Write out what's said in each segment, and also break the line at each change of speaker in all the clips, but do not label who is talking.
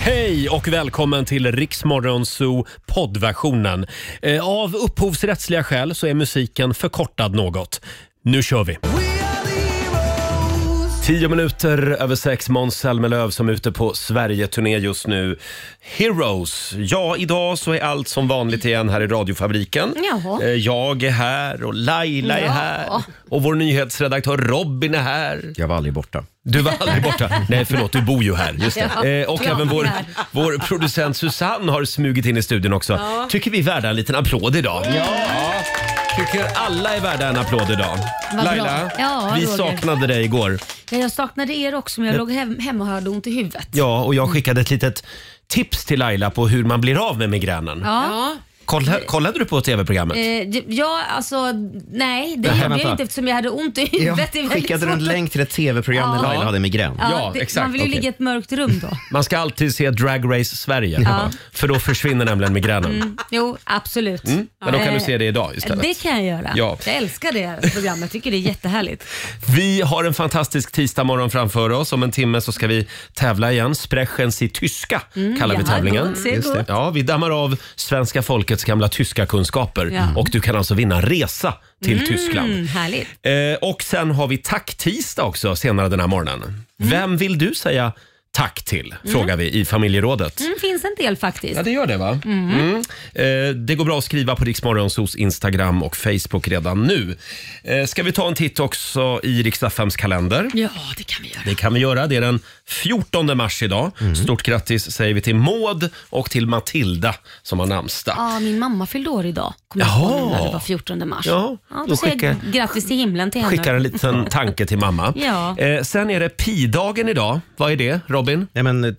Hej och välkommen till Riksmorgonzoo poddversionen. Eh, Av upphovsrättsliga skäl så är musiken förkortad något. Nu kör vi! Tio minuter över sex, Måns Zelmerlöw som är ute på Sverige-turné just nu. Heroes. Ja, idag så är allt som vanligt igen här i radiofabriken.
Jaha.
Eh, Jag är här och Laila är
Ja.
här och vår nyhetsredaktör Robin är här.
Jag var aldrig borta.
Du var aldrig borta. Nej, förlåt, du bor ju här. Just det.
Ja.
Eh, och
Ja,
även vår,
här.
vår producent Susanne har smugit in i studion också. Tycker vi är värda en liten applåd idag. Ja. Tycker alla är värda en applåd idag.
Vad bra.
Laila,
Ja,
vi
Roger.
saknade dig igår.
Ja, jag saknade er också men jag låg hem, hemma och hade ont i huvudet.
Ja, och jag skickade ett litet tips till Laila på hur man blir av med migränen.
Ja.
Kolla, kollade du på tv-programmet?
Eh, det- ja, alltså nej det gjorde jag
vänta.
inte eftersom jag hade ont i huvudet. Det är väldigt
skickade du en
svårt att-
länk till ett tv-program
Ja.
där Laila hade migrän?
Ja,
Ja,
det,
exakt,
Man vill ju
okej.
ligga i ett mörkt rum då.
Man ska alltid se Drag Race Sverige, för då försvinner nämligen migränen.
Jo, absolut.
Men då kan du
Eh,
se det idag istället.
Mm. Det kan jag göra.
Ja.
Jag älskar det här programmet. Jag tycker det är jättehärligt.
Vi har en fantastisk tisdagmorgon framför oss. Om en timme så ska vi tävla igen. Sprechen i tyska kallar vi
ja,
tävlingen.
Mm, gott, se Just det. gott.
Ja, vi dammar av svenska folkets gamla tyska kunskaper
Ja.
och du kan alltså vinna en resa till
Mm,
Tyskland.
härligt.
Eh, och sen har vi tacktisdag också senare den här morgonen.
Mm.
Vem vill du säga tack till? Frågar vi i familjerådet.
Mm, finns en del faktiskt.
Ja, det gör det va? Mm. Eh, det går bra att skriva på Riksmorgonsos Instagram och Facebook redan nu. Eh, ska vi ta en titt också i Riks-FMs kalender?
Ja, det kan vi göra. Mm.
Det kan vi göra. Det är den 14 mars idag. Stort grattis säger vi till Maud och till Matilda som har namnsdag.
Ja, min mamma fyllde år idag. Kommer
Jaha.
jag ihåg när det var 14 mars.
Ja, då
då säger jag
skickar-
grattis till himlen till henne.
Skickar en liten tanke till mamma.
Ja.
Eh, sen är det pi-dagen idag. Vad är det, Robin?
Nej men eh,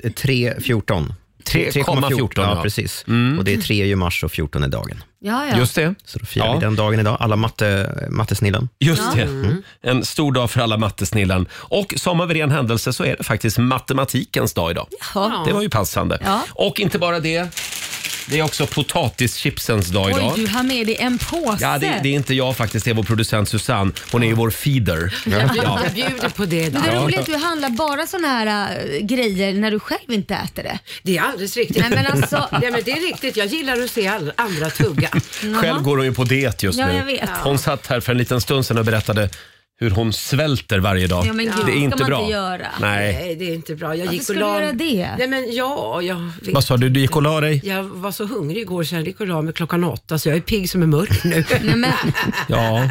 3.14.
3,14, ja.
Ja, precis. Och det är 3 ju mars och 14 är dagen.
Ja, ja.
Just det.
Så då firar
Ja.
vi den dagen idag, alla matte, mattesnillen.
Just det.
Mm.
Mm. En stor dag för alla mattesnillan. Och som av en ren händelse så är det faktiskt matematikens dag idag.
Ja.
Det var ju passande.
Ja.
Och inte bara det. Det är också potatischipsens dag idag.
Oj, du har med dig en påse.
Ja, det, det är inte jag faktiskt, det är vår producent Susanne. Hon är ju vår feeder. Ja.
Jag bjuder på det
Men
idag.
det är roligt att du handlar bara såna här äh, grejer när du själv inte äter det.
Det är alldeles riktigt.
Nej, men alltså-
Nej, men det är riktigt. Jag gillar att se all, andra tugga.
Själv går hon ju på diet just
Ja,
nu.
jag vet.
Hon satt här för en liten stund sedan och berättade hur hon svälter varje dag.
Ja, men gud,
det är
ska
inte
man
bra.
inte göra.
Nej.
Nej, det är inte bra. Jag
Varför
gick och
skulle
la-
du göra det?
Nej, men ja, jag, vet-
Vad sa du, du gick och la dig?
jag var så hungrig igår så jag gick och la mig klockan åtta så jag är pigg som en mörk nu.
Nej, men,
Ja,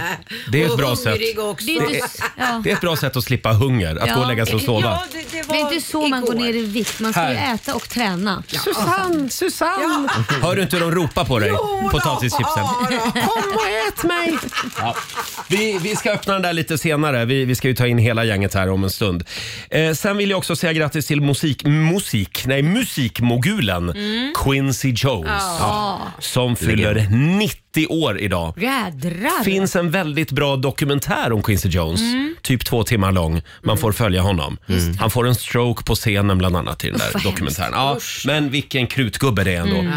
det är ett
och
bra sätt.
hungrig också.
det är ju inte, ja.
Det är ett bra sätt att slippa hunger, att
Ja.
gå och lägga sig och sova.
Ja, det, det var
det är inte så man går
igår.
ner i vikt. Man ska ju
Här.
äta och träna.
Susanne, Susanne! Hör du inte hur de ropar på dig?
Jo då,
Potatischipsen.
ja då.
Kom och ät mig! Ja. Vi, vi ska öppna den där lite senare. Vi, vi ska ju ta in hela gänget här om en stund. Eh, sen vill jag också säga grattis till musik, musik, nej, musikmogulen
Mm.
Quincy Jones. Ja. Som fyller 90 år idag.
Jädrar.
finns en väldigt bra dokumentär om Quincy Jones,
Mm.
typ två timmar lång. Man får följa honom. Han får en stroke på scenen bland annat i den där
vad
dokumentären. Ja, men vilken krutgubbe det är ändå.
Mm.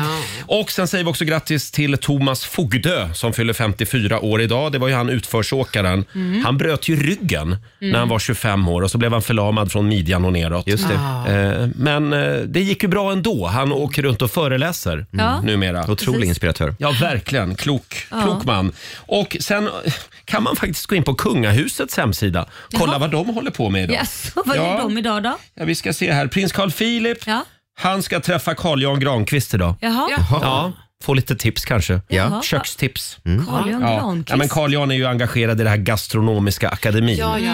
Och sen säger vi också grattis till Thomas Fogdö som fyller 54 år idag. Det var ju han utförsåkaren.
Mm.
Han bröt ju ryggen när han var 25 år och så blev han förlamad från midjan och neråt.
Just det.
Eh, Men eh, det gick ju bra ändå. Han åker runt och föreläser
Ja.
numera.
Otrolig
Precis.
inspiratör.
Ja, verkligen. Klok, klok man. Och sen eh, kan man faktiskt gå in på kungahusets hemsida. Kolla vad de håller på med idag.
Jaså, vad
Ja.
gör de idag då?
Ja, vi ska se här. Prins Carl Philip,
Ja.
han ska träffa Carl Jan Granqvist idag.
Jaha,
Ja.
Ja, få lite tips kanske.
Jaha. Mm.
Kökstips. Mm.
Carl Johan
Ja.
Granqvist.
ja, men Carl Jan är ju engagerad i det här gastronomiska akademin.
Ja, ja,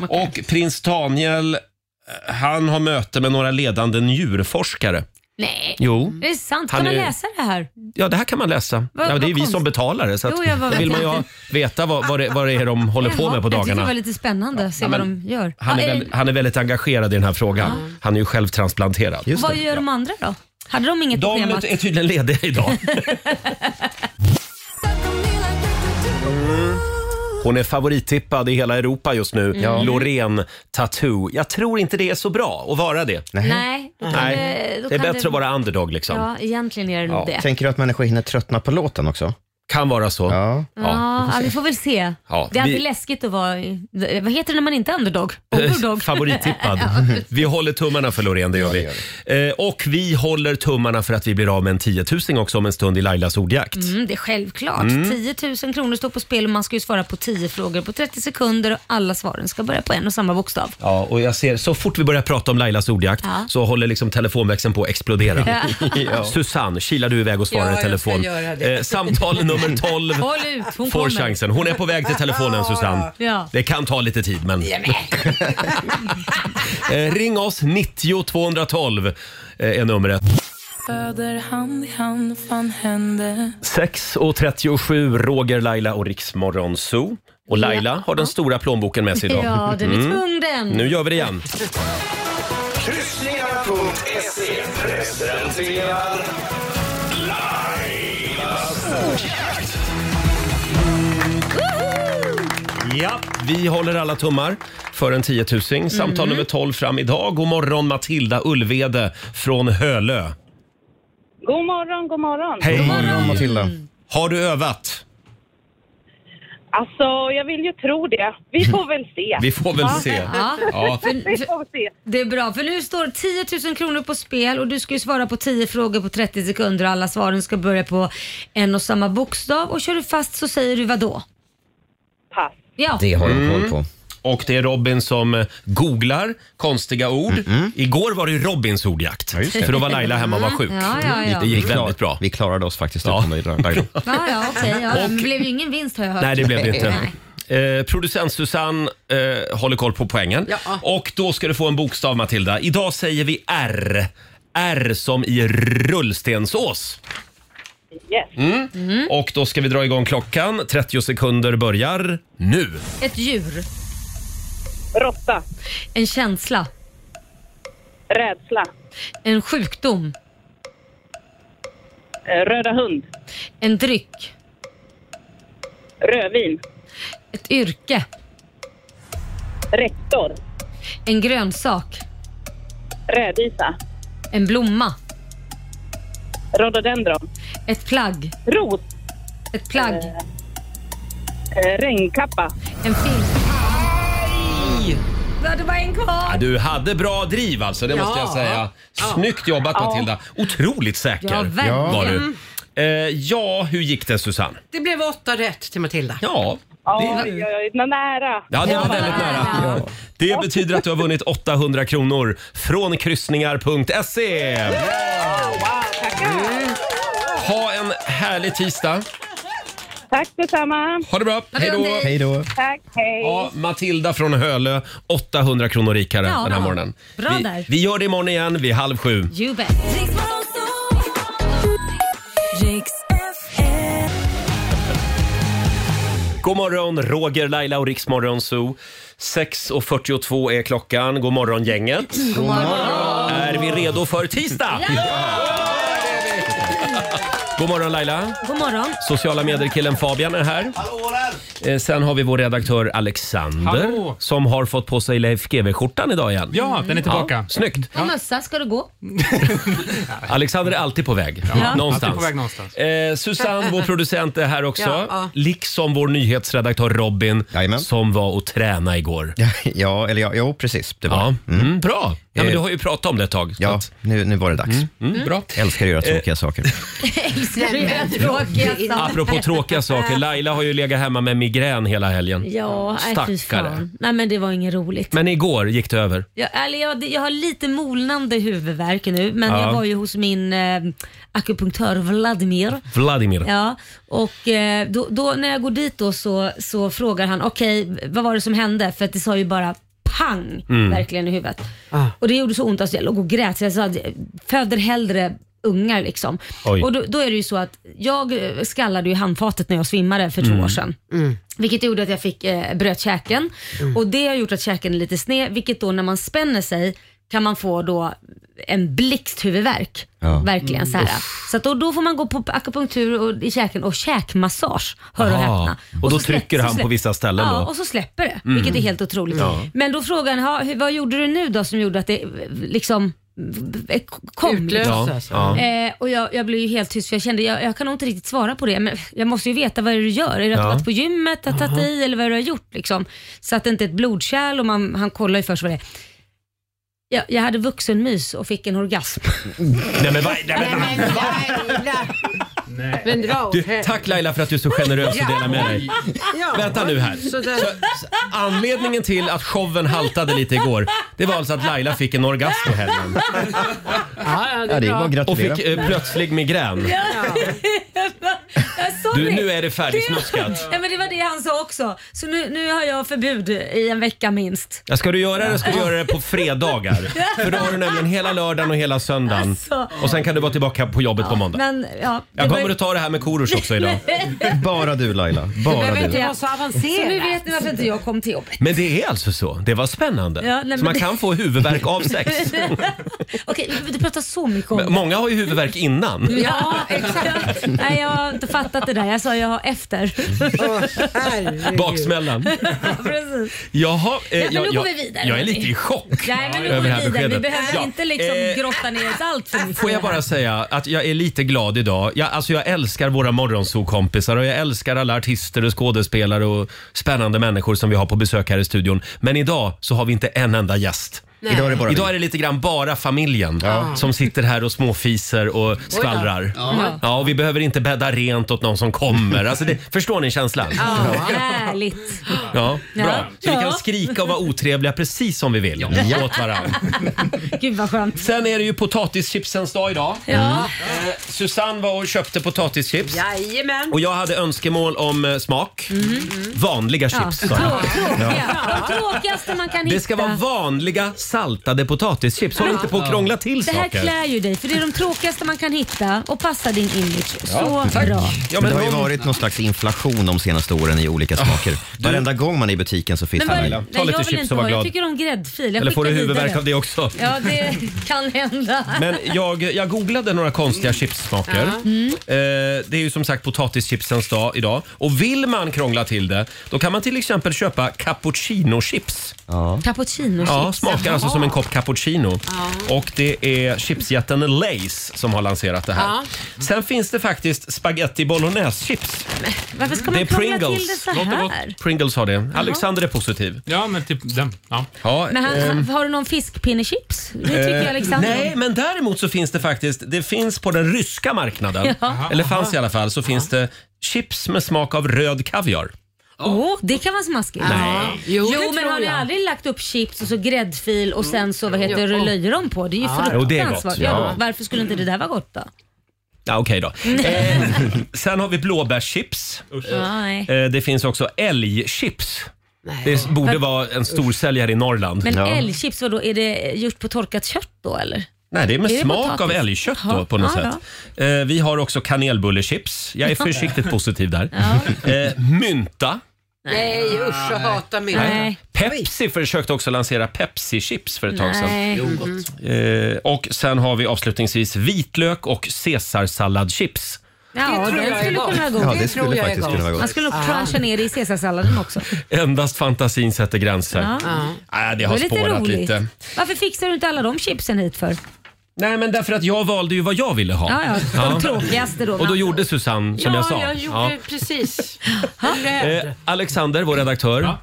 ja.
Och prins Daniel, eh, han har möte med några ledande njurforskare.
Nej,
Jo.
det är sant. Kan
Han
man
är-
läsa det här?
Ja, det här kan man läsa.
Vad-
ja, det är
vad
vi
konst-
som betalar det, så att
Jo, jag var-
då vill man ju ha- veta vad, vad, det, vad det är de håller på
Jaha,
med på
Jag tyckte det var
dagarna.
lite spännande att se
Ja,
vad
men
de gör.
Han
Ja, eh,
är,
är
väl, han är väldigt engagerad i den här frågan. Han är ju själv transplanterad.
Just
Vad
det.
gör de andra då? Hade de inget på
De
schemat?
är tydligen lediga idag.
Mm.
Hon är favorittippad i hela Europa just nu.
Mm.
Loreen Tattoo. Jag tror inte det är så bra att vara det.
Nej, då kan
Nej.
Det, då
Det är
kan
bättre att vara underdog liksom.
Ja, egentligen är det nog det.
Tänker du att människor hinner tröttna på låten också?
Kan vara så.
Ja.
Ja, vi får, väl se.
Ja,
det är alltid
vi-
läskigt att vara... Vad heter det när man inte är underdog? Overdog.
Eh, Favorittippad. Vi håller tummarna för Loreen, det gör vi. Eh, och vi håller tummarna för att vi blir av med en tiotusing också om en stund i Lailas ordjakt.
Mm, det är självklart. 10 000 kronor står på spel och man ska ju svara på 10 frågor på 30 sekunder och alla svaren ska börja på en och samma bokstav.
Ja, och jag ser, så fort vi börjar prata om Lailas ordjakt
Ja.
så håller liksom telefonväxeln på att explodera.
Ja.
Susanne, kilar du iväg och svarar
Ja,
i
jag ska
telefon.
göra det.
Eh, samtal nummer 12
Håll ut, hon
får
kommer.
chansen. Hon är på väg till telefonen, Susanne.
Ja.
Det kan ta lite tid, men... eh, ring oss, 90 212 eh, är numret.
Föder hand i hand, fan händer
6.37, Roger, Laila och Riksmorgon Zoo. Och Laila har den stora plånboken med sig idag. Mm.
Ja, den är tung den.
Nu gör vi det igen.
Kryssningar.se presenterar
Ja, vi håller alla tummar för en tiotusing.
Mm.
Samtal nummer 12 fram idag. God morgon Matilda Ulvede från Hölö.
God morgon, god morgon.
Hej!
Mm.
Ja, Matilda.
Har du övat?
Alltså, jag vill ju tro det. Vi får väl se.
Vi får väl se.
Ja.
Ja.
För, för,
Vi får se.
det är bra, för nu står 10 000 kronor på spel och du ska ju svara på 10 frågor på 30 sekunder och alla svaren ska börja på en och samma bokstav. Och kör du fast så säger du vad då?
Pass.
Ja.
Det har de
Mm.
koll på.
Och det är Robin som eh, googlar konstiga ord. Igår var det ju Robins ordjakt. För då var Laila hemma och var sjuk.
Ja, ja, ja.
Det
Vi,
gick
klar,
väldigt bra.
vi klarade oss faktiskt
Ja.
utan dig.
Ja, ja, okej. Ja, men det blev ju ingen vinst har jag hört.
Nej, det blev det inte.
Nej.
Eh, producent Susanne eh, håller koll på poängen.
Ja.
Och då ska du få en bokstav Matilda. Idag säger vi R. R som i rullstensås. Mm.
Yes.
Och då ska vi dra igång klockan. 30 sekunder börjar nu.
Ett djur,
Råtta.
en känsla,
Rädsla.
en sjukdom,
Eh, Röda hund.
en dryck,
Rödvin.
ett yrke,
Rektor.
en grönsak,
Rädisa.
en blomma,
Rhododendron.
ett plagg,
Ros.
ett plagg,
Eh, Regnkappa.
en film. Ja, det var en kvar!
Ja, Du hade bra driv alltså, det måste jag säga. Snyggt jobbat Matilda. Otroligt säker
Ja, verkligen.
var du. Eh, ja, hur gick det Susanne?
Det blev åtta rätt till Matilda.
Ja,
Ja, oj, oj, oj, nära.
Ja, det var väldigt nära. Det betyder att du har vunnit 800 kronor från kryssningar.se.
Wow, tackar.
Ha en härlig tisdag.
Tack detsamma.
Ha det bra. Hej då.
dig.
Hej då.
Tack, hej.
Ja, Matilda från Hölö, 800 kronor rikare
Ja,
den här
bra.
morgonen.
Bra
vi,
där.
vi gör det imorgon igen vid halv sju.
You bet.
God morgon, Roger, Laila och Riksmorgon Zoo. 6.42 är klockan. God morgon, gänget. God morgon. Är vi redo för tisdag? Ja! God morgon, Laila.
God morgon.
Sociala medier-killen Fabian är här. Eh, Sen har vi vår redaktör Alexander
Hallå.
som har fått på sig Leif GW-skjortan idag igen.
Ja, den är tillbaka.
Snyggt!
Och mössa, ska du gå?
Alexander är alltid på väg. Någonstans.
alltid på väg någonstans.
Eh, Susanne, vår producent, är här också.
Ja, ja.
Liksom vår nyhetsredaktör Robin
Jajamän.
som var och tränade igår.
Ja, eller ja, jo, precis. Det var
Ja,
det.
mm. bra! Ja, men
Eh,
du har ju pratat om det ett tag. så
Ja,
att-
nu, nu var det dags.
Mm, bra.
Älskar att göra tråkiga saker.
Älskar du den tråkiga saken?
Apropå tråkiga saker, Laila har ju legat hemma med migrän hela helgen.
Ja, nej, fy
Stackare.
fan. Nej men det var inget roligt.
Men igår gick det över.
Jag, eller jag, jag har lite molnande huvudvärk nu men
Ja.
jag var ju hos min eh, akupunktör Vladimir.
Vladimir.
Ja, och eh, då, då när jag går dit då så, så frågar han okej vad var det som hände? För att det sa ju bara pang
Mm.
verkligen i huvudet.
Ah.
Och det gjorde så ont att jag låg och grät så jag sa föder hellre ungar liksom.
Oj.
Och då, då är det ju så att jag eh, skallade ju handfatet när jag svimmade för två
Mm.
år sedan. Vilket gjorde att jag fick eh, bröt käken och det har gjort att käken är lite sned vilket då när man spänner sig kan man få då en blixthuvudvärk.
Ja.
Verkligen så här. Så att då, då får man gå på akupunktur och, i käken och käkmassage. Hör och
Aha.
häpna.
Och då
så släpp-
trycker
så
han på
släpp-
vissa ställen
ja,
då? Mm.
och så släpper det. Vilket är helt otroligt. Men då frågar han, "Ha, hur- vad gjorde du nu då som gjorde att det eh, liksom kom.
Utlöst.
Ja,
Alltså.
ja.
Eh, och jag, jag blev ju helt tyst för jag kände, jag, jag kan nog inte riktigt svara på det. Men jag måste ju veta vad det är du gör. Är det att du
Ja.
har varit på gymmet, att tagit i eller vad du har gjort? Liksom. Så att det inte är ett blodkärl och man, han kollar ju först vad det är. Jag, jag hade vuxenmys och fick en orgasm.
Nej, men, vad- nej, men,
Men jävlar! Men dra åt
du,
hel-
tack Laila för att du är så generös och delar med dig.
Ja.
Vänta nu här.
Så där.
Anledningen till att showen haltade lite igår, det var alltså att Laila fick en orgasm i helgen.
Ja, ja, det
Ja,
är
det
bra.
var
Och
gratulera.
fick eh, plötslig migrän.
Ja, sorry.
Du, nu är det färdigsnuskat.
Ja, men det var det han sa också. Så nu, nu har jag förbud i en vecka minst.
Ja, ska du göra det ska du göra det på fredagar. För då har du nämligen hela lördagen och hela söndagen.
Alltså.
Och sen kan du vara tillbaka på jobbet på måndag.
Men ja, det
Jag
var-
kommer att ta det här med Korosh också idag.
Bara du Laila. Bara
behöver
du.
inte vara så
Så nu
avancerat.
vet ni varför inte jag kom till jobbet.
Men det är alltså så. Det var spännande.
Ja, nej, men
så man
det-
kan få huvudvärk av sex.
Okej, du pratar så mycket om det.
Många har ju huvudvärk innan.
Ja, exakt. Nej, jag har inte fattat det där. Jag sa jag har efter.
Åh, herregud.
Baksmällan.
Ja, Precis.
Jaha, eh, jag,
men nu går
jag,
vi vidare.
jag är lite i chock
Nej, men nu går
över det här
vi vidare. Vi
beskedet.
behöver
Ja,
inte liksom
eh,
grotta ner oss allt för mycket.
Får
i
jag
det här.
bara säga att jag är lite glad idag. Jag, alltså jag älskar våra morgonsokompisar och jag älskar alla artister och skådespelare och spännande människor som vi har på besök här i studion. Men idag så har vi inte en enda gäst.
Idag är det bara
Idag är
vi.
det lite grann bara familjen som sitter här och småfiser och skvallrar. Ja. och vi behöver inte bädda rent åt någon som kommer. Alltså det, förstår ni känslan? Ja,
Härligt.
bra. Så vi
Ja.
kan skrika och vara otrevliga precis som vi vill åt varandra.
Gud vad skönt.
Sen är det ju potatischipsens dag idag.
Ja.
Eh, Susanne var och köpte potatischips.
Jajamän.
Och jag hade önskemål om eh, smak. Vanliga
Ja.
chips sa jag.
Tråkiga. De tråkigaste man kan hitta.
Det ska vara vanliga saltade potatischips. Håll inte på att krångla till
det här
saker.
klär ju dig, för det är de tråkigaste man kan hitta och passar din image så bra.
Ja,
Men
men
det har ju
någon-
varit någon slags inflation de senaste åren i olika smaker. Varenda gång man är i butiken så finns
Men
det
vad,
en
nej,
Laila.
Ah, Ta lite
jag vill
chips
inte
och var
vara, jag
glad.
tycker om gräddfil. Jag
Eller får du
skickar vidare.
huvudvärk av det också?
Ja, det kan hända.
Men jag, jag googlade några konstiga chipssmaker.
Mm.
Eh, det är ju som sagt potatischipsens dag idag. Och vill man krångla till det, då kan man till exempel köpa cappuccinochips.
Cappuccino
Ja, smakar alltså som en kopp cappuccino. Och det är chipsjätten Lays som har lanserat det här. Sen finns det faktiskt spaghetti bolognese-chips.
Varför ska
Det
man
är
krångla till det
Pringles.
så
Låter gott.
här?
Pringles har det. Alexander är positiv.
Ja, men typ den. Ja.
Ja, ehm,
Men han, han, har du någon fiskpinnechips? Det tycker jag Alexander
Eh, Nej,
om.
men däremot så finns det faktiskt, det finns på den ryska marknaden,
Ja.
eller fanns i alla fall, så finns det chips med smak av röd kaviar.
Åh, det kan vara smaskigt.
Ja. Jo,
Jo,
det
men
tror
har ni
jag. Mm.
aldrig lagt upp chips och så gräddfil och sen så vad heter det, löjrom på? Det är ju
Ah, Jo, det är gott.
fruktansvärt.
Ja. Eh.
Ja, varför skulle inte det där vara gott då?
Ja, okej då. Eh, sen har vi blåbärschips.
Nej.
Eh, det finns också älgchips.
Nej.
Det borde vara en storsäljare i Norrland.
Men älgchips, vadå? Är det gjort på torkat kött då eller?
Nej, det är med
Är det
smak
potatis?
av älgkött då
Jaha,
på något
ja,
sätt. Eh, vi har också kanelbullechips. Jag är försiktigt positiv där. Eh, mynta.
Nej usch, jag hatar mig.
Nej.
Pepsi försökte också lansera Pepsi-chips för ett tag sedan.
Nej. Mm-hmm.
Eh, och sen har vi avslutningsvis vitlök och caesarsalladchips.
Ja,
tror jag
den
är
skulle
gott.
kunna vara
Ja,
god.
det
tror
skulle
jag är
faktiskt
gott. Ah.
kunna vara
Man
gott.
skulle nog cruncha ner det i caesarsalladen också.
Endast fantasin sätter gränser.
Ja.
Nej, det
Det
har
var lite
spårat
roligt.
lite.
Varför fixar du inte alla de chipsen hit för?
Nej, men därför att jag valde ju vad jag ville ha.
Ja, ja, de tråkigaste då.
Och då gjorde Susanne som
ja,
jag sa.
gjorde precis.
Ja. Eh, Alexander, vår redaktör.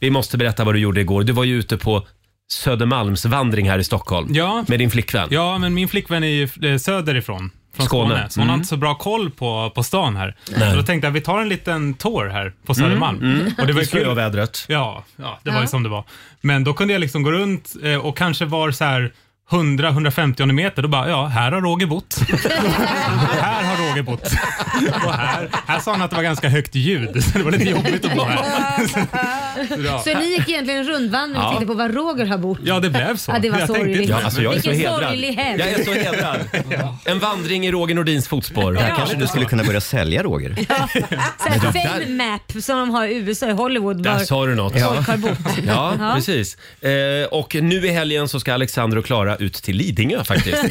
Vi måste berätta vad du gjorde igår. Du var ju ute på Södermalmsvandring här i Stockholm
Ja.
med din flickvän.
ja, men min flickvän är ju eh, söderifrån. Från
Skåne.
Skåne. Så hon har inte så bra koll på, på stan här. Så då tänkte jag vi tar en liten tour här på Södermalm. Och det var
I
ju kul.
snövädret.
Ja, ja, det var ju som det var. Men då kunde jag liksom gå runt eh, och kanske var så här 100-150 meter, då bara, ja, här har Roger bott. här har Roger bott. och här, här sa han att det var ganska högt ljud, så det var lite jobbigt att bo här. Så, ja.
Så ni gick egentligen en rundvandring och tittade på var Roger har bott?
ja, det blev så.
Ja, det var
jag
sorgligt.
inte-
Ja, alltså jag är
Vilken
så hedrad.
sorglig helg.
Jag är så hedrad. En vandring i Roger Nordins fotspår.
Här kanske du skulle kunna börja sälja Roger.
Såhär fame map som de har i USA i Hollywood.
Där
Var
sa du något.
folk har bott.
Ja,
Ja.
precis. Eh, och nu i helgen så ska Alexander och Klara ut till Lidingö faktiskt.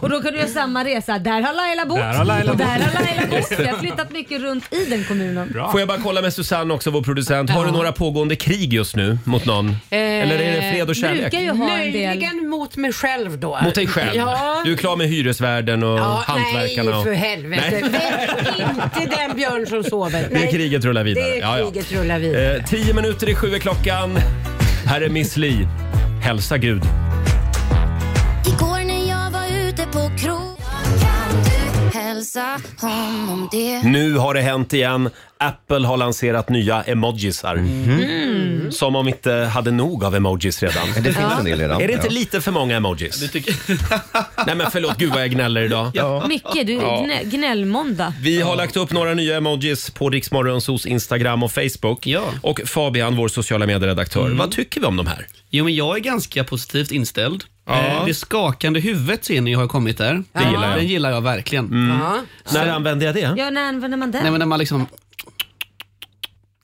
Och då kan du göra samma resa. Där har Laila bott.
Där har Laila
och där
bott.
har Laila bott. Jag har flyttat mycket runt i den kommunen.
Bra.
Får jag bara kolla med Susanne också, vår producent. Har du några pågående krig just nu mot någon?
Eh,
Eller är det fred och kärlek?
Eh, Brukar ju ha en del.
Möjligen mot mig själv då.
Mot dig själv?
Ja.
Du är klar med hyresvärden och
Ja,
hantverkarna?
Nej,
och...
för helvete. Väck inte den björn som sover.
Det är
Nej,
kriget rullar vidare.
Det är
Ja, ja.
kriget rullar vidare.
Eh, tio minuter i sju är klockan. Här är Miss Li. Hälsa Gud. eh,
Igår när jag var ute på krog Kan du hälsa honom det?
Nu har det hänt igen. Apple har lanserat nya emojisar.
Mhm.
Mm.
Som om vi inte hade nog av emojis redan.
Men Det finns en del redan.
Är det inte
Ja.
lite för många emojis? Nej men förlåt, gud vad jag gnäller idag.
Eh, Micke, du gnä, gnällmåndag.
Vi har lagt upp några nya emojis på Riksmorgonsos Instagram och Facebook.
Ja. Mm.
Och Fabian, vår sociala medieredaktör. Vad tycker vi om de här?
Jo, men jag är ganska positivt inställd. Eh, Det skakande huvudet ser ni har kommit där. Det
gillar jag.
Den gillar jag Mm. verkligen.
Ja.
När använder jag det?
Ja, när använder man den?
Nej, men när man liksom...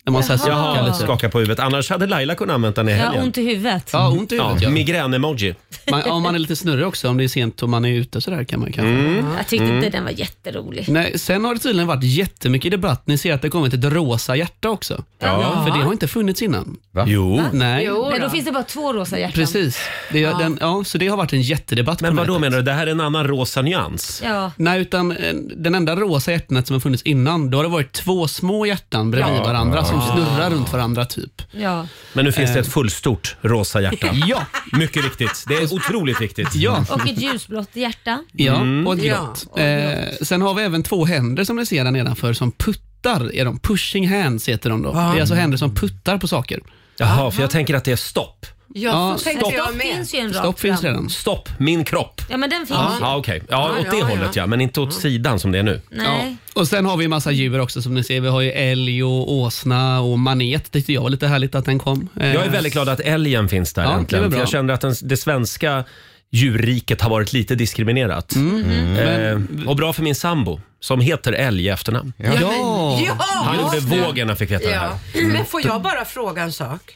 När man såhär skakar
Jaha,
lite.
skaka på huvudet. Annars hade Laila kunnat använda den i
ja,
helgen.
ont i huvudet.
Ja, ont i huvudet
Ja,
ja.
Migrän-emoji.
Man, om man är lite snurrig också, om det är sent och man är ute sådär kan man kanske...
Jag tyckte inte den var jätterolig.
Mm. Nej, sen har det tydligen varit jättemycket debatt. Ni ser att det har kommit ett rosa hjärta också.
Ja.
För det har inte funnits innan.
Jo.
Oh, Nej,
Jo
Nej,
då.
då finns det bara två rosa hjärtan.
precis. Det, ja. Den, ja, så det har varit en jättedebatt
Men
på
vad då
nätet.
menar du? Det här är en annan rosa nyans?
Ja.
Nej, utan eh, den enda rosa hjärtat som har funnits innan, då har det varit två små hjärtan bredvid varandra som snurrar runt varandra typ.
Ja.
Men nu finns det
Eh.
ett fullstort rosa hjärta.
Ja,
Mycket viktigt. Det är otroligt viktigt.
ja,
Och ett ljusblått hjärta.
ja
Mm.
och ett
Ja,
grått. eh, sen har vi även två händer som ni ser där nedanför som puttar. Är de. Pushing hands heter de då. Det är alltså händer som puttar på saker.
Jaha, för jag tänker att det är stopp.
Ja,
Ja,
så tänkte
Stopp,
jag med.
finns ju en rakt
Stopp finns
fram.
redan.
Stopp, min kropp.
Ja, men den finns ju.
Ja, okej. Ja, åt det
ja,
hållet ja. Men inte åt sidan som det är nu.
Ja.
Nej.
Och sen har vi en massa djur också som ni ser. Vi har ju älg och åsna och manet tyckte jag var lite härligt att den kom. Eh,
Jag är väldigt glad att älgen finns där
Ja, det är
äntligen.
väl
För
bra.
jag kände att den, det svenska djurriket har varit lite diskriminerat. Eh, och bra för min sambo som heter älg i efternamn.
Ja, men-
Ja.
ja,
Han gjorde
just det.
vågen när han fick veta det här. Mm.
Ja. Men får jag bara fråga en sak?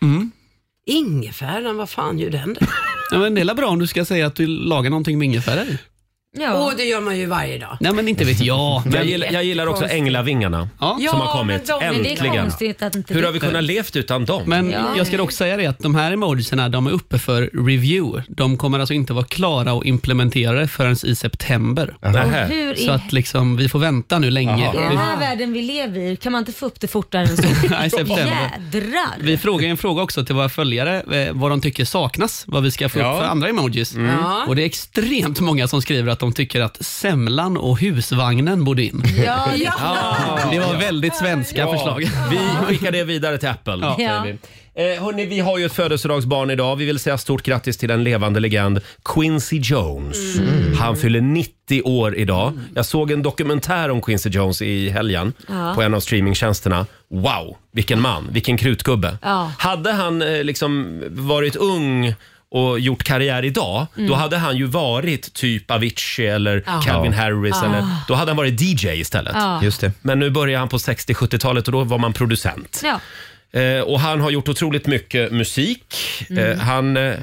Ingefäran, vad fan gör den där?
Ja, men det är väl bra om du ska säga att du lagar någonting med ingefära i.
Ja.
Åh, det gör man ju varje dag.
Nej, men inte vet jag.
Jag
Men,
gillar, jag gillar också änglavingarna
Ja.
som
Ja,
har kommit.
men de- men
det är
Äntligen!
konstigt att inte
Hur
det-
har vi kunnat levt utan dem?
Men
Ja.
jag ska dock säga det att de här emojisarna de är uppe för review. De kommer alltså inte vara klara och implementerade förrän i september.
Nähä.
Hur i
Så att liksom, vi får vänta nu länge.
i den här världen vi lever i, kan man inte få upp det fortare än så?
Nej, september.
Jädrar!
Vi frågar en fråga också till våra följare eh, vad de tycker saknas, vad vi ska få
Ja. Mm.
upp för andra emojis.
Ja.
Och det är extremt många som skriver att de tycker att semlan och husvagnen borde in.
Ja, ja.
Det var väldigt svenska förslag.
Vi skickar det vidare till Apple.
Ja.
säger vi. Eh, hörni, vi har ju ett födelsedagsbarn idag. Vi vill säga stort grattis till en levande legend, Quincy Jones.
Mm.
Han fyller 90 år idag. Jag såg en dokumentär om Quincy Jones i helgen
Ja.
på en av streamingtjänsterna. Wow, vilken man, vilken krutgubbe.
Ja.
Hade han eh, liksom varit ung och gjort karriär idag,
Mm.
då hade han ju varit typ Avicii eller Calvin Harris. Eller, då hade han varit DJ istället.
Just det.
Men nu börjar han på 60-70-talet och då var man producent.
ja.
Eh, och han har gjort otroligt mycket musik.
Mm.
Eh, han, eh,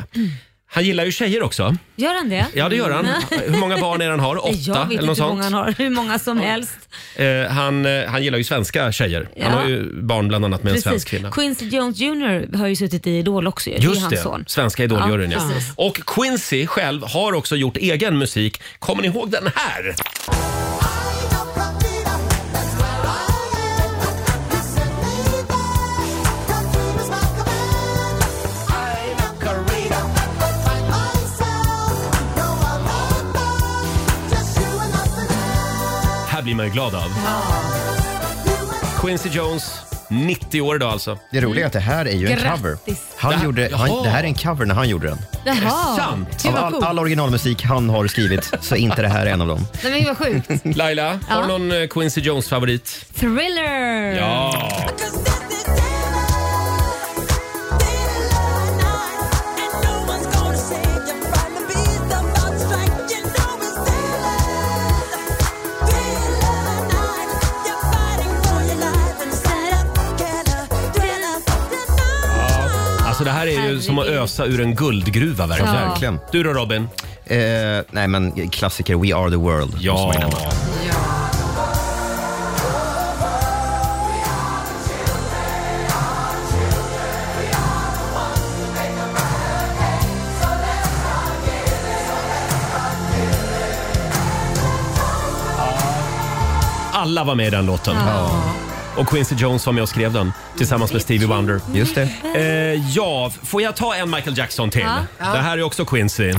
han gillar ju tjejer också.
Gör han det?
Ja, det gör han. Hur många barn är det han har? Åtta
Jag vet
eller något
inte hur
sånt.
många han har, hur många som helst.
Eh, han, eh, han gillar ju svenska tjejer.
Ja.
Han har ju barn bland annat med en
Precis.
svensk kvinna.
Quincy Jones Jr har ju suttit i Idol också ju. det. är
Just
hans
det,
son.
svenska idoljuryn ja,
Ja, precis.
Och Quincy själv har också gjort egen musik. Kommer ni ihåg den här? Här blir man ju glad av. Quincy Jones, 90 år idag alltså.
Det roliga är att det här är ju en
Grattis.
cover.
Det
Han
här-
gjorde,
Jaha.
han, det här är en cover när han gjorde den.
Jaha.
Sant!
Det
Av
var
all,
coolt.
all originalmusik han har skrivit så är inte det här en av dem.
Nej, men vad sjukt.
Laila, har du någon eh, Quincy Jones-favorit?
Thriller!
Ja! Alltså Det här är ju som att ösa ur en guldgruva verkligen.
Ja. Verkligen.
Du då Robin?
Eh, nej men klassiker We Are The World.
Ja. Alla var med i den låten.
Ja.
Och Quincy Jones var med och skrev den tillsammans med Stevie Wonder.
Just det.
Eh, ja, får jag ta en Michael Jackson till?
Ja. Ja.
Det här är också Quincy.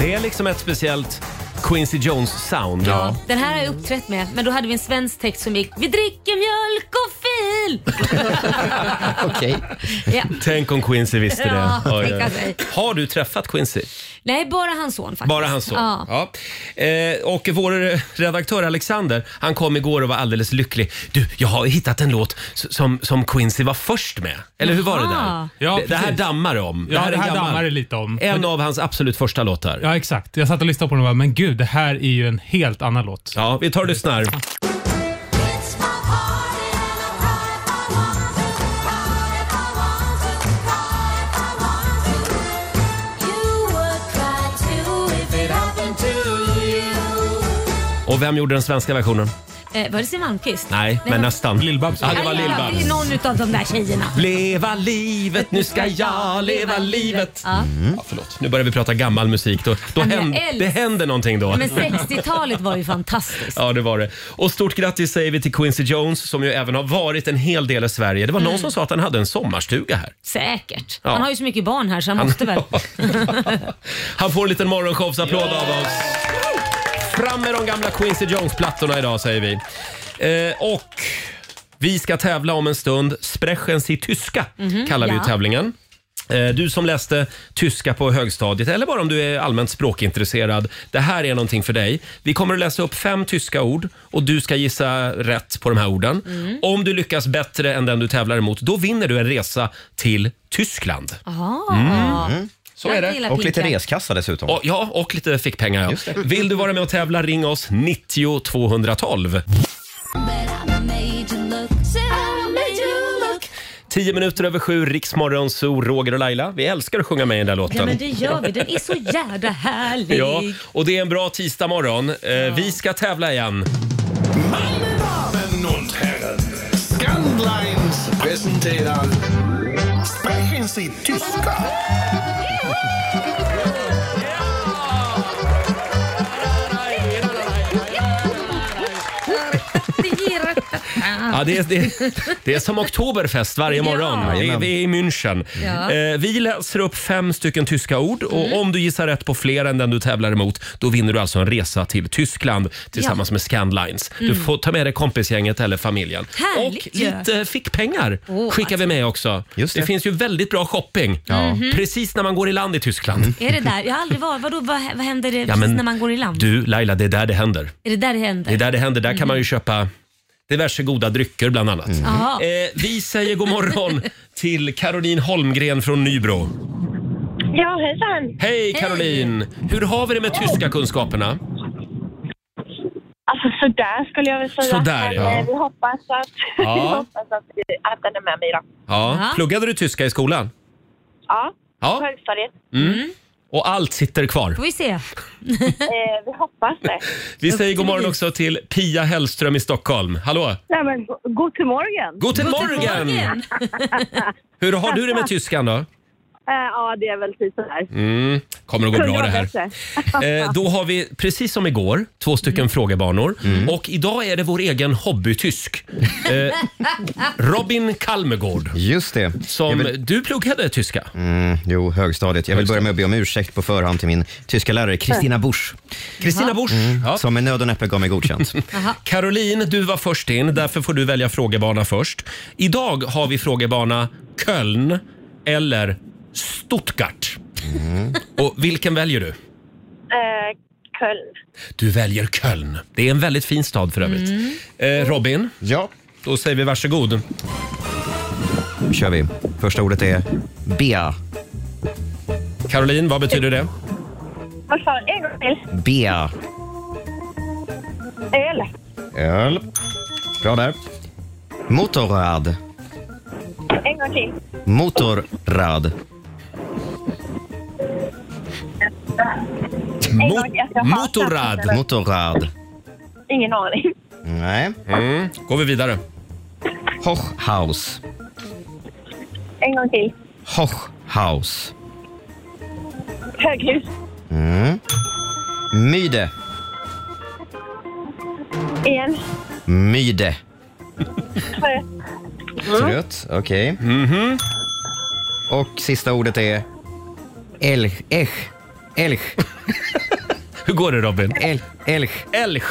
Det är liksom ett speciellt Quincy Jones-sound. Ja.
Den här har jag uppträtt med, men då hade vi en svensk text som gick Vi dricker mjölk och fil!
Okej.
Ja.
Tänk om Quincy visste det.
Ja,
Oj,
tänk
oj,
att
oj.
det-
Har du träffat Quincy?
Nej, bara hans son faktiskt.
Bara hans son?
Ja.
Ja. Eh, och vår redaktör Alexander, han kom igår och var alldeles lycklig. Du, jag har hittat en låt s- som, som Quincy var först med. Eller hur var det
Jaha.
där?
Ja,
det, det här
precis.
dammar det om.
Ja,
är
det här
gammal-
dammar det lite om.
En av hans absolut första låtar.
Ja, exakt. Jag satt och lyssnade på den och bara, men gud, det här är ju en helt annan låt.
Ja, vi tar och lyssnar. Och vem gjorde den svenska versionen?
Eh, var det Siw Malmkvist?
Nej, men nästan. Lill-Babs. Ja, det var
Ja, ja, Det är
Lill-Babs.
någon utav de där tjejerna.
Leva livet, nu ska jag leva livet.
Ja.
Ja, förlåt, nu börjar vi prata gammal musik. Då, då
Ja, men jag
händer,
älskar-
det händer någonting då.
Men 60-talet var ju fantastiskt.
Ja, det var det. Och stort grattis säger vi till Quincy Jones som ju även har varit en hel del i Sverige. Det var någon
Mm.
som sa att han hade en sommarstuga här.
Säkert.
Ja.
Han har ju så mycket barn här så han
Han-
måste väl.
Han får en liten morgonshowsapplåd av oss. Fram med de gamla Quincy Jones-plattorna idag säger vi. Eh, och vi ska tävla om en stund. Sprechens i tyska
Mhm,
kallar vi
ja.
tävlingen. Eh, Du som läste tyska på högstadiet eller bara om du är allmänt språkintresserad. Det här är någonting för dig. Vi kommer att läsa upp fem tyska ord och du ska gissa rätt på de här orden.
Mm.
Om du lyckas bättre än den du tävlar emot, då vinner du en resa till Tyskland.
Aha.
Mm. Så
Jag
är det.
gillar Och lite pinkar.
reskassa dessutom. Och, ja, och lite fickpengar. Ja. Vill du vara med och tävla, ring oss 90 212. 10 minuter över sju, Riksmorgon, Zoo, Roger och Laila. Vi älskar att sjunga med i den där låten.
Ja men det gör vi, den är så jävla härlig.
Ja, och det är en bra tisdagmorgon. Eh, Vi ska tävla igen.
Damen und Herren, Scandlines presenterar Sprechen Sie Tyska.
Ja, det, är, det, är- det är som oktoberfest varje morgon.
Ah. Ja.
Vi, vi är i München.
Ja. Mm.
Eh, vi läser upp fem stycken tyska ord och om du gissar rätt på fler än den du tävlar emot, då vinner du alltså en resa till Tyskland tillsammans med Scandlines. Du
Mm.
får ta med dig kompisgänget eller familjen.
Härligt
Och lite fickpengar
Åh,
skickar vi med också. det. finns ju väldigt bra shopping
Mhm.
precis när man går i land i Tyskland.
Mm.
Är det där? Jag har aldrig varit. Vadå, vad, vad händer det
Ja,
precis
men
när man går i land?
Du Laila, det är där det händer.
Är det där det händer?
Det är där det händer. Där kan
Mhm.
man ju köpa diverse goda drycker bland annat.
Jaha.
Eh, vi säger god morgon till Caroline Holmgren från Nybro.
Ja, hejsan.
Hej Caroline! Hur har vi det med tyska kunskaperna?
Alltså sådär skulle jag väl säga.
Sådär,
Men,
ja.
eh, Vi hoppas att,
Ja.
vi hoppas att, att den är med mig då.
Ja.
Ja.
Pluggade du tyska i skolan?
Ja,
Ja.
på högstadiet.
Mm. Och allt sitter kvar.
Får vi se.
eh, vi hoppas det.
Vi säger god morgon också till Pia Hellström i Stockholm. Hallå!
Nej, men, go- guten morgen!
Guten Morgen! Morgen. Hur har du det med tyskan då?
Eh, ja, det är väl typ sådär.
Mm. Kommer att gå bra det här. Eh, då har vi, precis som igår, två stycken frågebanor. Och idag är det vår egen hobbytysk. Eh, Robin Kalmegård.
Just det.
Som, Du pluggade tyska.
Mm, jo, högstadiet. Jag vill börja med att be om ursäkt på förhand till min tyska lärare Kristina Busch. Mm,
Kristina Busch?
Som med nöd och näppe gav mig godkänt.
Caroline, du var först in. Därför får du välja frågebana först. Idag har vi frågebana Köln eller Stuttgart.
Mm.
Och vilken väljer du?
Eh, Köln.
Du väljer Köln. Det är en väldigt fin Mm. stad för övrigt. Eh, Robin?
Ja?
Då säger vi varsågod.
kör vi. Första ordet är bea.
Caroline, vad betyder det?
Vad sa du? En gång till.
Bea.
Öl.
Öl. Bra där. Motorrad.
En gång till.
Motorrad.
Mot- Jag har motorrad. inte.
Motorrad.
Ingen aning.
Nej.
Mm. Går vi vidare.
Hochhaus.
En gång till.
Hochhaus.
Höghus.
Mm. Myde.
Igen.
Myde.
Trött.
Mm.
Trött, okej.
Mhm.
Och sista ordet är älg. Älg. Älg.
Hur går det Robin?
Älg. Älg.
Älg.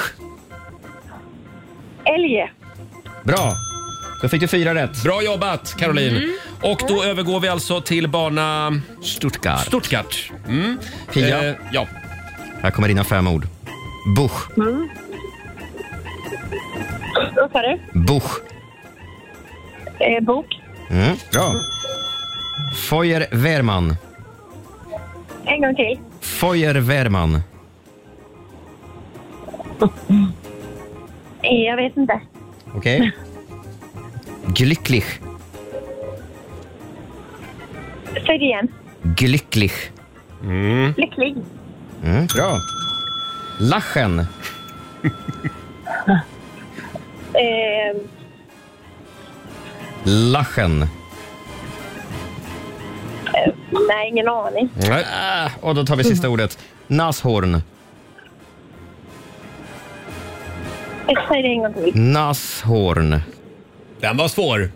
Älge.
Bra. Då fick du fyra rätt.
Bra jobbat Caroline. Och då övergår vi alltså till bana
Stuttgart.
Stuttgart. Mm.
Pia.
Eh, ja.
Här kommer dina fem ord. Buch.
Vad sa du?
Buch.
Eh, bok.
Mm. Bra. Feuerwehrmann.
En gång till.
Feuerwehrmann.
Eh, jag vet inte.
Okej. Glücklich.
Säg det igen.
Glücklich.
Lycklig.
Mm. Bra. Lachen.
Eh,
Lachen.
eh, nej, ingen aning.
Nej.
Ah, Och då tar vi sista ordet. Nashorn.
Eh, Säg det en gång till.
Nashorn.
Den var svår.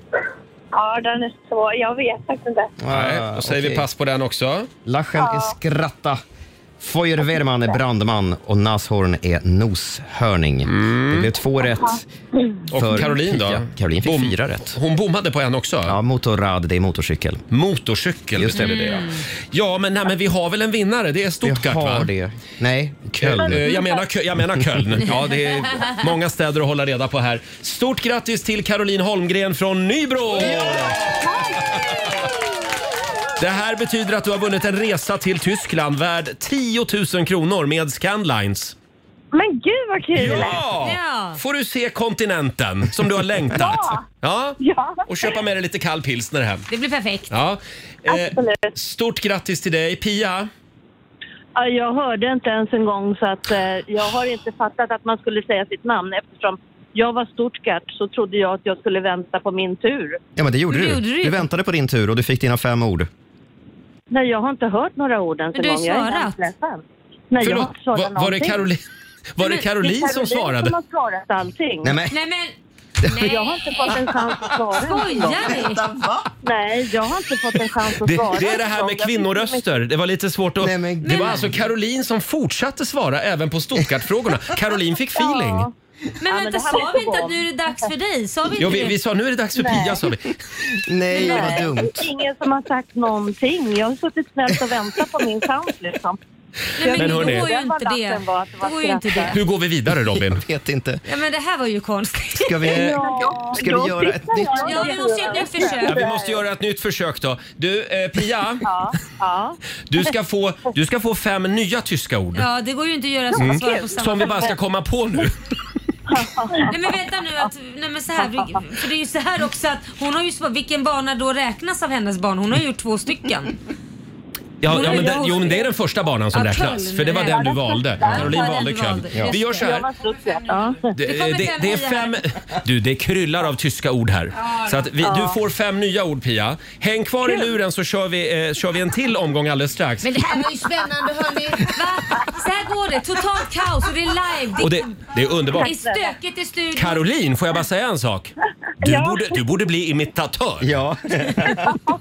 Ja, den är svår. Jag vet faktiskt inte.
Nej, då säger vi
Ah, okej.
pass på den också.
Lachen är skratta. Feuerwehrmann är brandman och Nashorn är noshörning. Mm. Det blev två rätt.
Mm. Och
för
Caroline då?
Pia. Caroline fick
Bom-
fyra rätt.
Hon bommade på en också.
Ja, motorrad, det är motorcykel.
Motorcykel
Just det.
betyder det. ja. Ja, men, nej, men vi har väl en vinnare? Det är Stuttgart
Vi har
va?
det. Nej, Köln.
Eh, Jag menar, Kö- jag menar Köln. Ja, det är många städer att hålla reda på här. Stort grattis till Caroline Holmgren från Nybro! Det här betyder att du har vunnit en resa till Tyskland värd 10 000 kronor med Scandlines.
Men gud vad kul!
Ja!
Ja.
Får du se kontinenten som du har längtat. Ja.
Ja.
Och köpa med dig lite kall pilsner hem.
Det blir perfekt.
Ja. Eh,
Absolut.
stort grattis till dig. Pia,
Ja, Jag hörde inte ens en gång så att eh, jag har inte fattat att man skulle säga sitt namn eftersom jag var Stuttgart så trodde jag att jag skulle vänta på min tur.
Ja, men det gjorde
Det
du.
gjorde du ju.
Du väntade på din tur och du fick dina fem ord.
Nej, jag har inte hört några ord ens
Men
en
du har
gång. Jag är
svarat.
hemskt ledsen. Nej, jag har
förlåt.
inte svarat
Var, var det
någonting.
Caroline? Var det
Nej, men-
Caroline
Det är
som
som
svarade?
har svarat allting.
Nej, men
Nej men,
Jag har
nej.
inte fått en chans att svara. ens en gång.
Skojar ni?
Nej, jag har inte fått en chans att
Det,
svara.
det är det
ens en
här
gång.
med
Jag fick inte mycket-
kvinnoröster. Det var lite svårt att...
Nej, men
det var alltså Caroline som fortsatte svara även på Stuttgart-frågorna. Caroline fick feeling.
Ja.
Men
men
vänta,
det här
sa vi
var så
inte
bra.
att nu är det dags för dig? Sa vi inte
Ja, vi,
det?
vi sa nu är det dags för Pia, sa vi.
nej, vad dumt.
Det är ingen som har sagt någonting. Jag har suttit snällt och väntat på min chans liksom.
Nej, men
Men
då
hörni.
går ju
Den
inte det.
balansen var att det
Då
var
går ju inte
skratt.
det.
Hur går vi vidare, Robin?
Jag vet inte.
Ja, men det här var ju konstigt.
Ska vi, ska vi göra ett nytt?
Ja, vi måste göra ett nytt försök.
Ja, vi måste göra ett nytt försök då. Du, eh, Pia,
Ja, ja.
du ska, få, du ska få fem nya tyska ord.
Ja, det går ju inte att göra så att svara på
Mm.
samma
Som vi bara ska komma på nu.
Nej men vänta nu, att, nej men så här, vi- för det är ju så här också att hon har ju svar, vilken bana då räknas av hennes barn? Hon har ju gjort två stycken.
Ja, ja, men den, jo, men det är den första banan som
Ja,
räknas.
Köln.
För det var den du valde. Caroline
Ja, den
valde
du
Köln.
valde. Ja.
Vi gör så
Jag
här.
var Stuttgart. Ja.
Det, eh,
kommer
det,
fem
det är
nya.
fem... Du, det kryllar av tyska ord här. Så att vi, du får fem nya ord, Pia. Häng kvar i luren så kör vi, eh, kör vi en till omgång alldeles strax.
Men det här var ju spännande hörni. Va? Så här går det, totalt kaos och det är live.
Och
Det,
det, det är underbart.
är stökigt i studion.
Caroline, får jag bara säga en sak? Du, borde, du borde bli imitatör.
Ja,
Ja,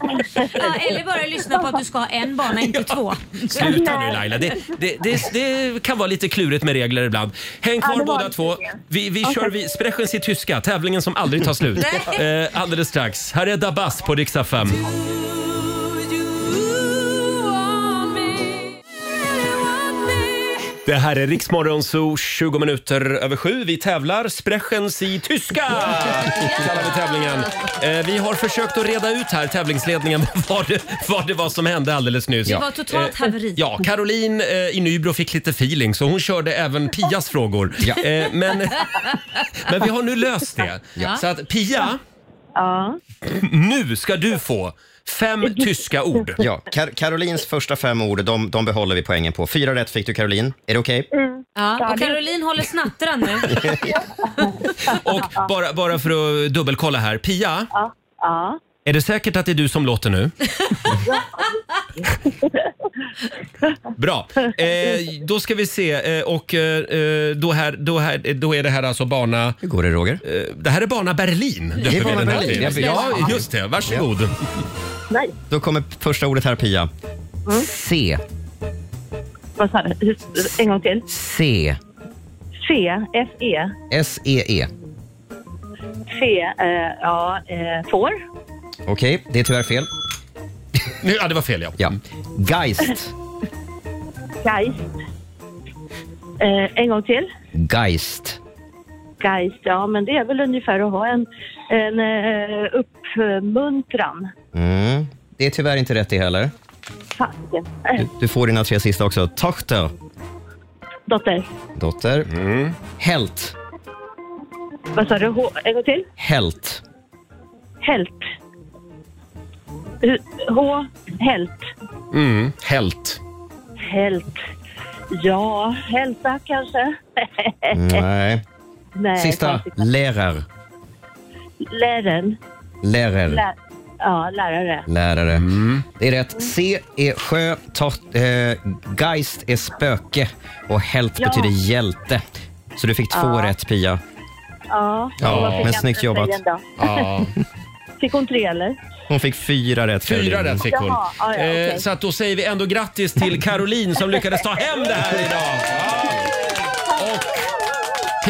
eller bara lyssna på att du ska ha en bana, inte två.
Sluta nu Laila. Det, det, det, det kan vara lite klurigt med regler ibland. Häng kvar
det var
båda
det
två.
tydligen.
Vi, vi kör vi, Sprechen i tyska, tävlingen som aldrig tar slut. eh, alldeles strax. Här är Dabas på riksdag 5. Det här är Riksmorgon Zoo, 20 minuter över sju. Vi tävlar Sprechens i tyska! kallar vi tävlingen. Eh, vi har försökt att reda ut här, tävlingsledningen, vad det, vad det var som hände alldeles nyss.
Det var totalt
Eh,
haveri.
Ja, Caroline eh, i Nybro fick lite feeling så hon körde även Pias frågor. Eh, men, men vi har nu löst det.
Ja.
Så att Pia,
Ja.
nu ska du få fem tyska ord.
Ja, Kar- Carolines första fem ord, de, de behåller vi poängen på. Fyra rätt fick du Caroline. Är det okej?
Ja, och Caroline håller snattran nu.
Och bara, bara för att dubbelkolla här. Pia,
Ja.
är det säkert att det är du som låter nu? Bra. Eh, då ska vi se. Eh, och eh, då, här, då, här, då är det här alltså bana... Hur
går det Roger?
det här är bana Berlin.
Det är
döper vi
bana
den här
Berlin,
till.
ja,
Ja,
precis.
just det. Varsågod.
Nej.
Då kommer första ordet här Pia. C.
Mm. Vad sa du? En gång till.
C. E,
C, F-E.
S-E-E.
C, eh, ja, eh, får.
Okej, det är tyvärr fel.
Ja, det var fel ja.
ja. Geist.
Geist. Eh, en gång till.
Geist.
Geist, ja men det är väl ungefär att ha en, en eh, uppmuntran.
Mm. Det är tyvärr inte rätt det heller.
Fasiken. Eh,
Du får dina tre sista också. Tochter.
dotter,
Dotter.
Mm.
Helt.
vad sa du? H- en gång till.
Helt.
Helt. H, helt.
Mm. Helt.
Helt. Ja, hälsa kanske.
Nej.
Nej,
Sista.
fasiken.
Lehrer.
Läraren.
Lehrer.
Lär, ja, lärare.
Lärare.
Mm.
Det är rätt. C är sjö, tot, eh, Geist är spöke och Helt
Ja.
betyder hjälte. Så du fick två
Ja.
rätt Pia.
Ja,
Ja,
och vad fick
men
jag
snyggt
för
jobbat.
tjejen då?
Ja.
Fick hon tre eller?
Hon fick fyra rätt.
Fyra
Caroline.
rätt fick hon.
Jaha, ja, ja,
Eh,
okej.
Så att då säger vi ändå grattis till Caroline som lyckades ta hem det här idag. Och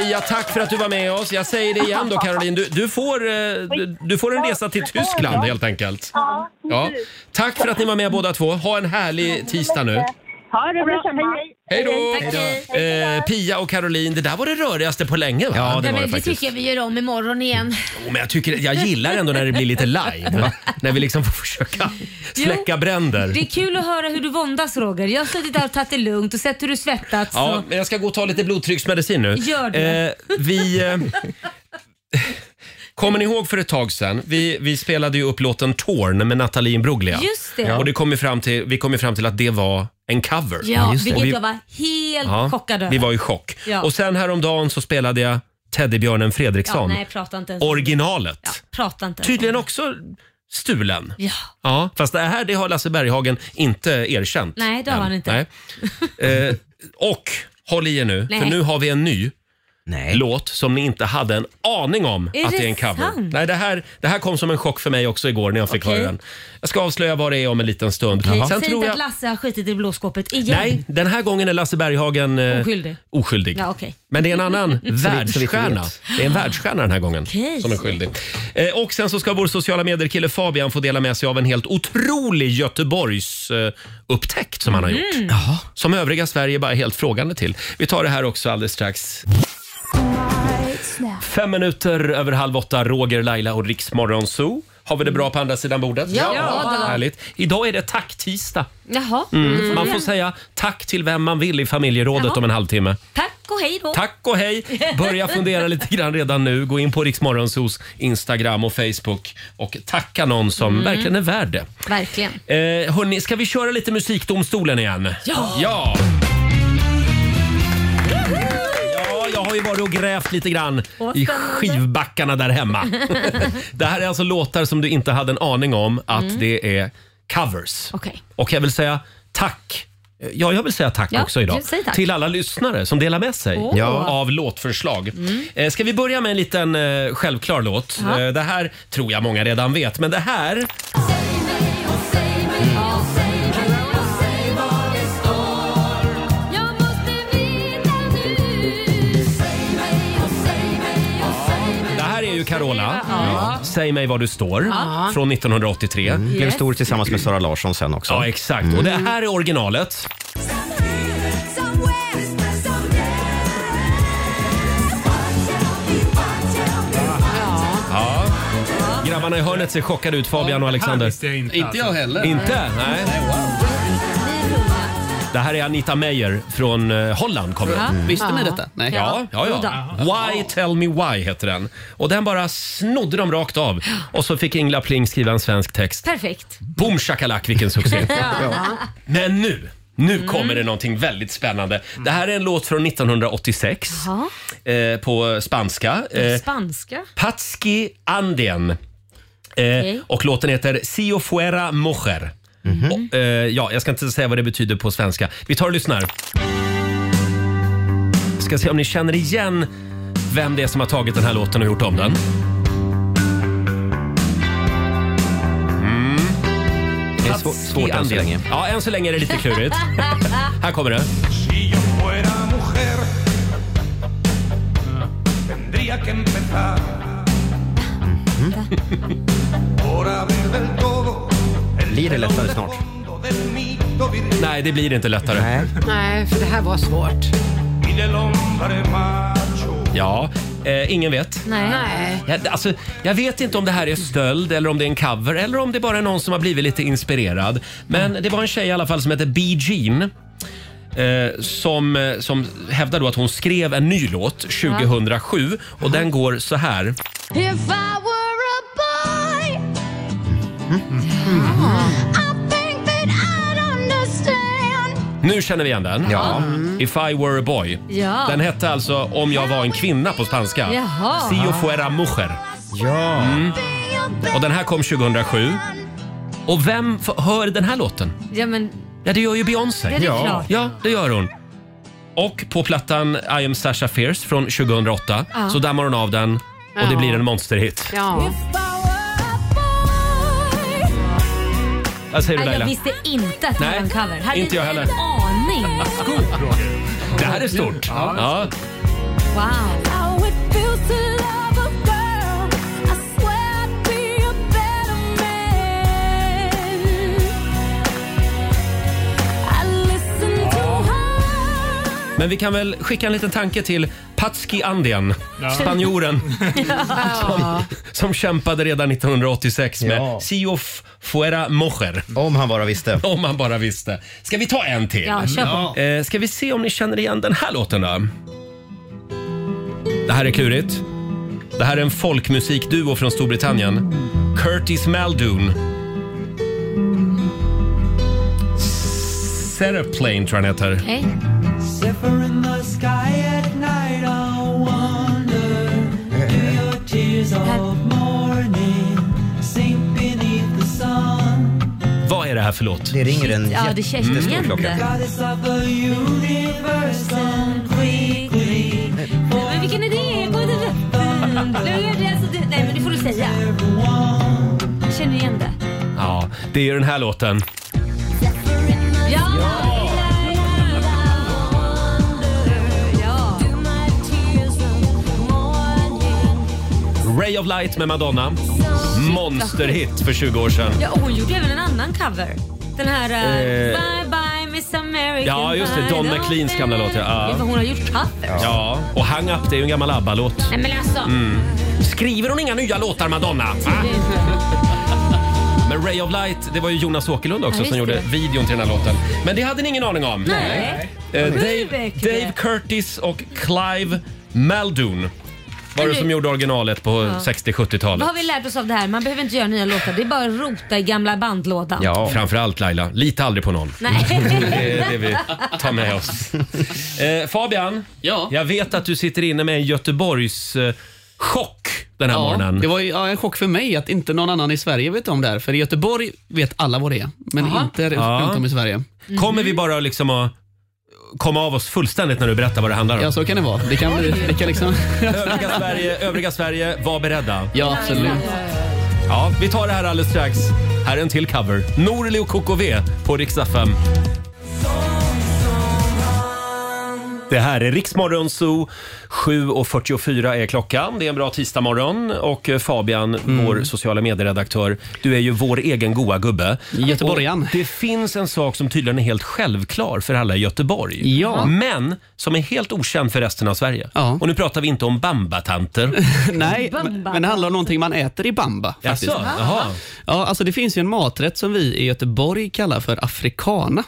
Pia, tack för att du var med oss. Jag säger det igen då Caroline, du, du, får, eh, du, du får en resa till Tyskland helt enkelt.
Ja,
Ja. Tack för att ni var med båda två. Ha en härlig tisdag nu.
Ha det bra. Hej,
Hej då!
Tack, hej.
Eh, Pia och Caroline, det där var det rörigaste på länge va?
Ja, men det tycker jag vi gör om imorgon igen.
Jo, Men jag, tycker, jag gillar ändå när det blir lite live. när vi liksom får försöka släcka bränder.
Det är kul att höra hur du våndas Roger. Jag har suttit där och tagit det lugnt och sett hur du svettats.
Ja,
och-
men jag ska gå och ta lite blodtrycksmedicin nu.
Gör det.
Eh, vi... Eh, Kommer ni ihåg för ett tag sedan? Vi, vi spelade ju upp låten Torn med Nathalie Imbruglia.
Just det.
Och det kom ju fram till, vi kom ju fram till att det var en cover.
Ja, vilket
Och vi-
jag var helt
Ja,
chockad över.
Vi var i chock.
Ja.
Och sen häromdagen så spelade jag Teddybjörnen Fredriksson.
Ja, nej, prata inte ens om det.
originalet.
Prata inte.
Tydligen också stulen.
Ja.
Ja, fast det här det har Lasse Berghagen inte erkänt.
Nej, det har
än.
han inte.
Nej. Eh, och håll i er nu,
Nej.
för nu har vi en ny låt som ni inte hade en aning om
Är
att
det
det är en cover.
sant?
Nej, det här, det här kom som en chock för mig också igår när jag fick
Okej.
höra den. Jag ska avslöja vad det är om en liten stund.
Säg
Sen
inte
tror jag...
att Lasse har skitit i blåskåpet igen.
Nej, den här gången är Lasse Berghagen eh,
Oskyldig.
oskyldig.
Ja, okej.
Men det är en annan
vi- så vi inte
världsstjärna.
vet.
Det är en världsstjärna den här gången
Okej.
som är skyldig. Eh, och sen så ska vår sociala medier-kille Fabian få dela med sig av en helt otrolig Göteborgs eh, upptäckt som han har gjort.
Mm.
Som övriga Sverige bara är helt frågande till. Vi tar det här också alldeles strax. Fem minuter över halv åtta, Roger, Laila och Riksmorgon Zoo. Har vi det bra på andra sidan bordet?
Ja, Ja. det var-
Härligt. Idag är det tack-tisdag.
Jaha. då får
Mm.
vi
Man
göra-
får säga tack till vem man vill i familjerådet
Jaha.
om en halvtimme.
Tack och hej då.
Tack och hej! Börja fundera lite grann redan nu. Gå in på Riksmorgonsos Instagram och Facebook och tacka någon som
Mm.
verkligen är värd det.
Verkligen.
Eh, hörni, ska vi köra lite Musikdomstolen igen?
Ja.
ja! Ja, Jag har ju varit och grävt lite grann
Åh,
i
spännande.
skivbackarna där hemma. det här är alltså låtar som du inte hade en aning om att
Mm.
det är covers.
Okej.
Och jag vill säga tack. Eh, Ja, jag vill säga tack
Ja,
också idag.
säg tack.
Till alla lyssnare som delar med sig
Åh. Ja. Mm.
av låtförslag. Eh, Ska vi börja med en liten eh, självklar låt?
Ja.
Eh, det här tror jag många redan vet, men det här... Det här är ju Carola.
Ja.
Säg mig var du står.
Ja.
Från 1983.
Mm. Blev stor tillsammans med Sara Larsson sen också.
Ja, exakt. Och det här är originalet. Grabbarna i hörnet ser chockade ut, Fabian och Alexander.
här visste jag inte, Inte jag alltså. heller.
Inte? Nej. Det här är Anita Meyer från eh, Holland. Kommer.
Ja. Mm. Visste ni detta? Nej.
Ja, ja, ja.
Ja.
Why Tell Me Why heter den. Och den bara snodde de rakt av. Och så fick Ingla Pling skriva en svensk text.
Perfekt.
Boom shakalak, vilken succé.
Ja.
Men nu, nu kommer det någonting väldigt spännande. Det här är en låt från 1986
Jaha.
eh, på spanska. Eh,
Spanska?
Patski Andien. Eh, Och låten heter Si o fuera mujer. Och, eh, ja, jag ska inte säga vad det betyder på svenska. Vi tar och lyssnar. Ska se om ni känner igen vem det är som har tagit den här låten och gjort om den. Mm. Det är svå- svårt än så länge. Ja, än så länge är det lite klurigt. här kommer det.
Tendría que empezar por abrir del todo
Blir det lättare snart?
del mito viril
Nej, det blir inte lättare.
Nej, för det här var svårt.
y del hombre más.
Ja, eh, ingen vet.
Nej.
Jag, alltså, jag vet inte om det här är stöld eller om det är en cover eller om det bara är någon som har blivit lite inspirerad. Men det var en tjej i alla fall som hette Bee Jean. Eh, som, eh, som hävdar då att hon skrev en ny låt 2007 och den går så här.
If I were a boy I think that I'd understand
Nu känner vi igen den. Mm.
Ja.
If I were a boy.
Ja.
Den hette alltså Om jag var en kvinna på spanska.
Jaha.
Si yo fuera mujer.
Ja.
Mm. Och den här kom 2007. Och vem f- hör den här låten?
Ja, men
Ja, det gör ju Beyoncé.
Ja, det är Ja. klart.
ja, det gör hon. Och på plattan I am Sasha Fierce från 2008
Ja.
så dammar hon av den och det
Ja.
blir en monsterhit.
ja.
Vad säger du
Nej, jag
Laila?
visste inte att det var
Nej,
en cover. Hade
inte jag
en
heller.
aning.
Det här är stort. Ja.
Wow.
Men vi kan väl skicka en liten tanke till Patski Andien,
Ja.
spanjoren som, som kämpade redan 1986 med Si o f- fuera mujer.
Om han bara visste.
Om han bara visste. Ska vi ta en till?
Ja, kör på.
Eh, Ska vi se om ni känner igen den här låten då? Det här är klurigt. Det här är en folkmusikduo från Storbritannien. Curtis Muldoon. Seroplane tror jag den heter.
Zephyr in the sky at night, I wonder. Do your tears of morning sink beneath the sun?
Vad är det här för låt?
Det ringer en
Ja, det känns jättestor igen klocka. det. Goddess of the universe, come quickly.
Men vilken idé! Gå inte Nu är det alltså det. Nej, men det får du säga. Jag känner igen det.
Ja, det är ju den här låten.
Ja! Ja.
Ray of Light med Madonna. Monsterhit för 20 år sedan.
Ja, och hon gjorde även en annan cover. Den här eh,
Eh.
Bye bye Miss American
Ja, just det. Don
Idol.
McLeans gamla låt.
Det är vad
Ja.
Hon har gjort covers.
ja, och Hang Up, det är ju en gammal ABBA-låt.
Nej men alltså.
Mm. Skriver hon inga nya låtar Madonna? Va? Men Ray of Light, det var ju Jonas Åkerlund
Ja,
också
visst
som gjorde
det.
videon till den här låten. Men det hade ni ingen aning om?
Nej.
Eh,
Sjukt
Dave,
mycket.
Dave Curtis och Clive Muldoon var
Men
det
du-
som gjorde originalet på
Ja.
60-70-talet.
Vad har vi lärt oss av det här? Man behöver inte göra nya låtar. Det är bara att rota i gamla bandlådan.
Ja, framförallt Laila, lita aldrig på någon.
Nej.
Det är det vi tar med oss. Eh, Fabian,
ja.
jag vet att du sitter inne med en Göteborgs eh, chock den här
ja,
morgonen.
Det var ju, ja, en chock för mig att inte någon annan i Sverige vet om det här. För i Göteborg vet alla vad det är, men
Aha.
inte
Ja.
runt om i Sverige.
Kommer vi bara liksom att komma av oss fullständigt när du berättar vad det handlar om?
Ja, så kan det vara. Det kan, bli- det kan liksom...
Övriga Sverige, övriga Sverige, var beredda.
Ja, absolut.
Ja, vi tar det här alldeles strax. Här är en till cover. Norli och KKV på Rix FM. Det här är Riksmorgon Zoo. 7.44 är klockan. Det är en bra tisdagmorgon. Och eh, Fabian,
Mm.
vår sociala medieredaktör, du är ju vår egen goa gubbe.
Göteborgaren.
Och Det finns en sak som tydligen är helt självklar för alla i Göteborg.
Ja.
Men som är helt okänd för resten av Sverige. Och nu pratar vi inte om bambatanter.
Nej, men men det handlar om någonting man äter i bamba. Faktiskt.
Jaså? Jaha.
Ja, alltså det finns ju en maträtt som vi i Göteborg kallar för afrikana.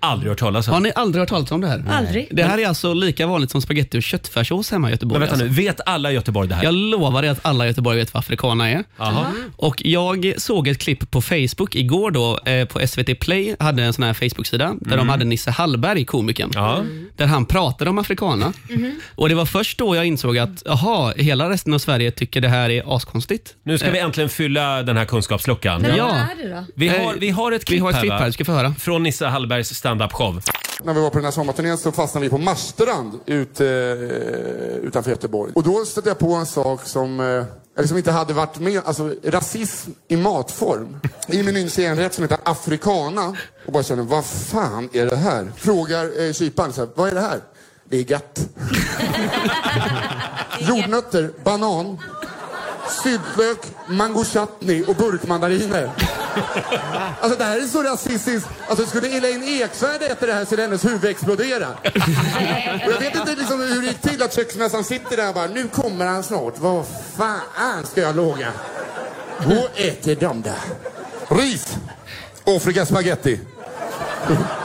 Aldrig hört talas om.
Har ni aldrig hört talas om det här?
Aldrig.
Det här är alltså lika vanligt som spaghetti och köttfärssås hemma i Göteborg.
Men vänta nu,
alltså.
vet alla i Göteborg det här?
Jag lovar dig att alla i Göteborg vet vad afrikana är.
Jaha.
Och Jag såg ett klipp på Facebook igår då eh, på SVT Play, hade en sån här Facebook-sida där
Mm.
de hade Nisse Hallberg, komikern, där han pratade om afrikana.
Mm.
Mhm.
Och Det var först då jag insåg att jaha, hela resten av Sverige tycker det här är askonstigt.
Nu ska vi äntligen fylla den här kunskapsluckan.
Men vad är det då?
Vi har, vi har ett klipp,
Eh, har ett klipp
va?
här, ska få höra.
Från Nisse Hallbergs standup-show.
När vi var på den här sommarturnén så fastnade vi på Marstrand ut, eh, utanför Göteborg. Och då stötte jag på en sak som, eh, eller som inte hade varit med, alltså rasism i matform. I menyn ser jag en rätt som heter africana och bara känner, vad fan är det här? Frågar eh, kyparen, så här, vad är det här? Det är gatt. Jordnötter, banan, syltlök, mango chutney och burkmandariner. Alltså det här är så rasistiskt. Alltså skulle Elaine Eksvärd äta det här så skulle hennes huvud explodera. Och jag vet inte liksom hur det gick till att köksmästaren sitter där och bara, nu kommer han snart. Vad fan ska jag låga? Och äter de där. Ris! Och frikasspaghetti.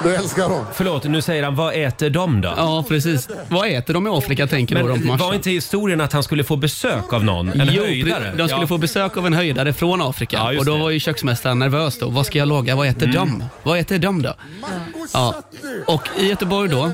Du älskar dem.
Förlåt, nu säger han vad äter de då?
Ja, precis. Vad äter de i Afrika tänker då de på
Men
matchen?
var inte historien att han skulle få besök av någon? En
Jo,
höjdare?
de skulle
Ja.
få besök av en höjdare från Afrika och då var ju köksmästaren nervös då. Vad ska jag laga? Vad
Mm.
äter de? Vad äter de då? Ja. Och i Göteborg då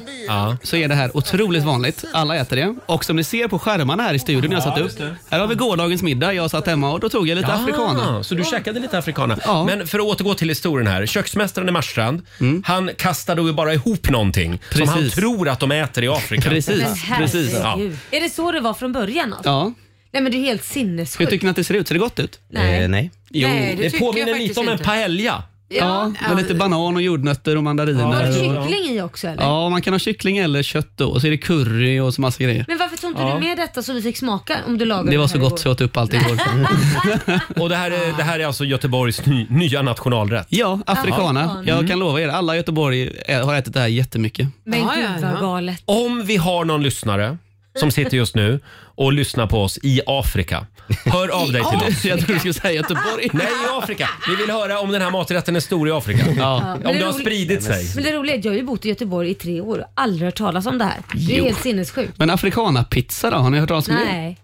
så är det här otroligt vanligt. Alla äter det. Och som ni ser på skärmarna här i studion jag
Ja,
satt upp.
just det.
Här har vi gårdagens middag. Jag satt hemma och då tog jag lite
Ja,
afrikaner.
Så du käkade lite afrikaner. Men för att återgå till historien här. Köksmästaren i Marstrand, han kastade ju bara ihop någonting som
Mm. Precis.
han tror att de äter i Afrika.
Precis,
Men herregud. Är det så det var från början? Alltså?
Ja.
Nej men det är helt
Hur
sinnessjukt.
tycker ni att det ser ut? Ser det gott ut?
Nej. Eh, nej.
Jo,
Nej, det Det tycker påminner jag faktiskt lite om en inte.
paella.
Ja,
Ja,
med lite banan och jordnötter och
Var
mandariner.
det
och-
kyckling i också eller?
Ja, man kan ha kyckling eller kött då. Och så är det curry och så massa grejer.
Men varför tog inte
Ja.
du med detta så vi fick smaka om du lagade
Det var
här
så gott så
igår?
jag åt upp allt igår.
Och det här, är, det här är alltså Göteborgs ny, nya nationalrätt? Mm.
Ja,
Ja.
afrikana. Jag kan lova er, alla i Göteborg ä- har ätit det här jättemycket.
Men
Ja,
gud
ja,
vad
ja.
galet.
Om vi har någon lyssnare som sitter just nu och lyssnar på oss i Afrika. Hör av dig till oss.
Jag trodde du skulle säga Göteborg.
Nej, i Afrika. Vi vill höra om den här maträtten är stor i Afrika.
Ja.
Om
Men
det har
roligt-
spridit sig.
Men det roliga är att jag har ju bott i Göteborg i tre år och aldrig hört talas om det här. Det är
Jo.
helt sinnessjukt.
Men afrikanapizza då, har ni hört talas om det?
Nej.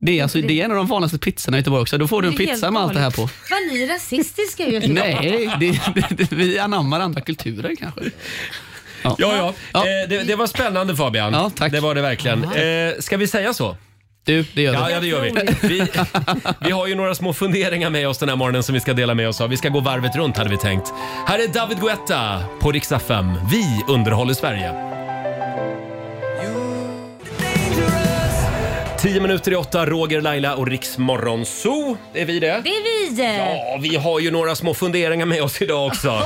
Det är, alltså, det är en av de vanligaste pizzorna i Göteborg också. Då får du en
Det är helt
pizza med allt det här på.
Var ni rasistiska i Göteborg?
Nej, det, det, det, vi anammar andra kulturer kanske. Ja,
ja. Eh, det, det var spännande Fabian. Ja, tack. Det var det verkligen. Eh, ska vi säga så?
Du, det gör vi.
ja, ja, det gör vi. vi. Vi har ju några små funderingar med oss den här morgonen som vi ska dela med oss av. Vi ska gå varvet runt hade vi tänkt. Här är David Guetta på riksdag 5. Vi underhåller Sverige. Tio minuter i åtta, Roger, Laila och Riksmorgon Zoo. Det är vi det.
Det är vi!
Ja, vi har ju några små funderingar med oss idag också.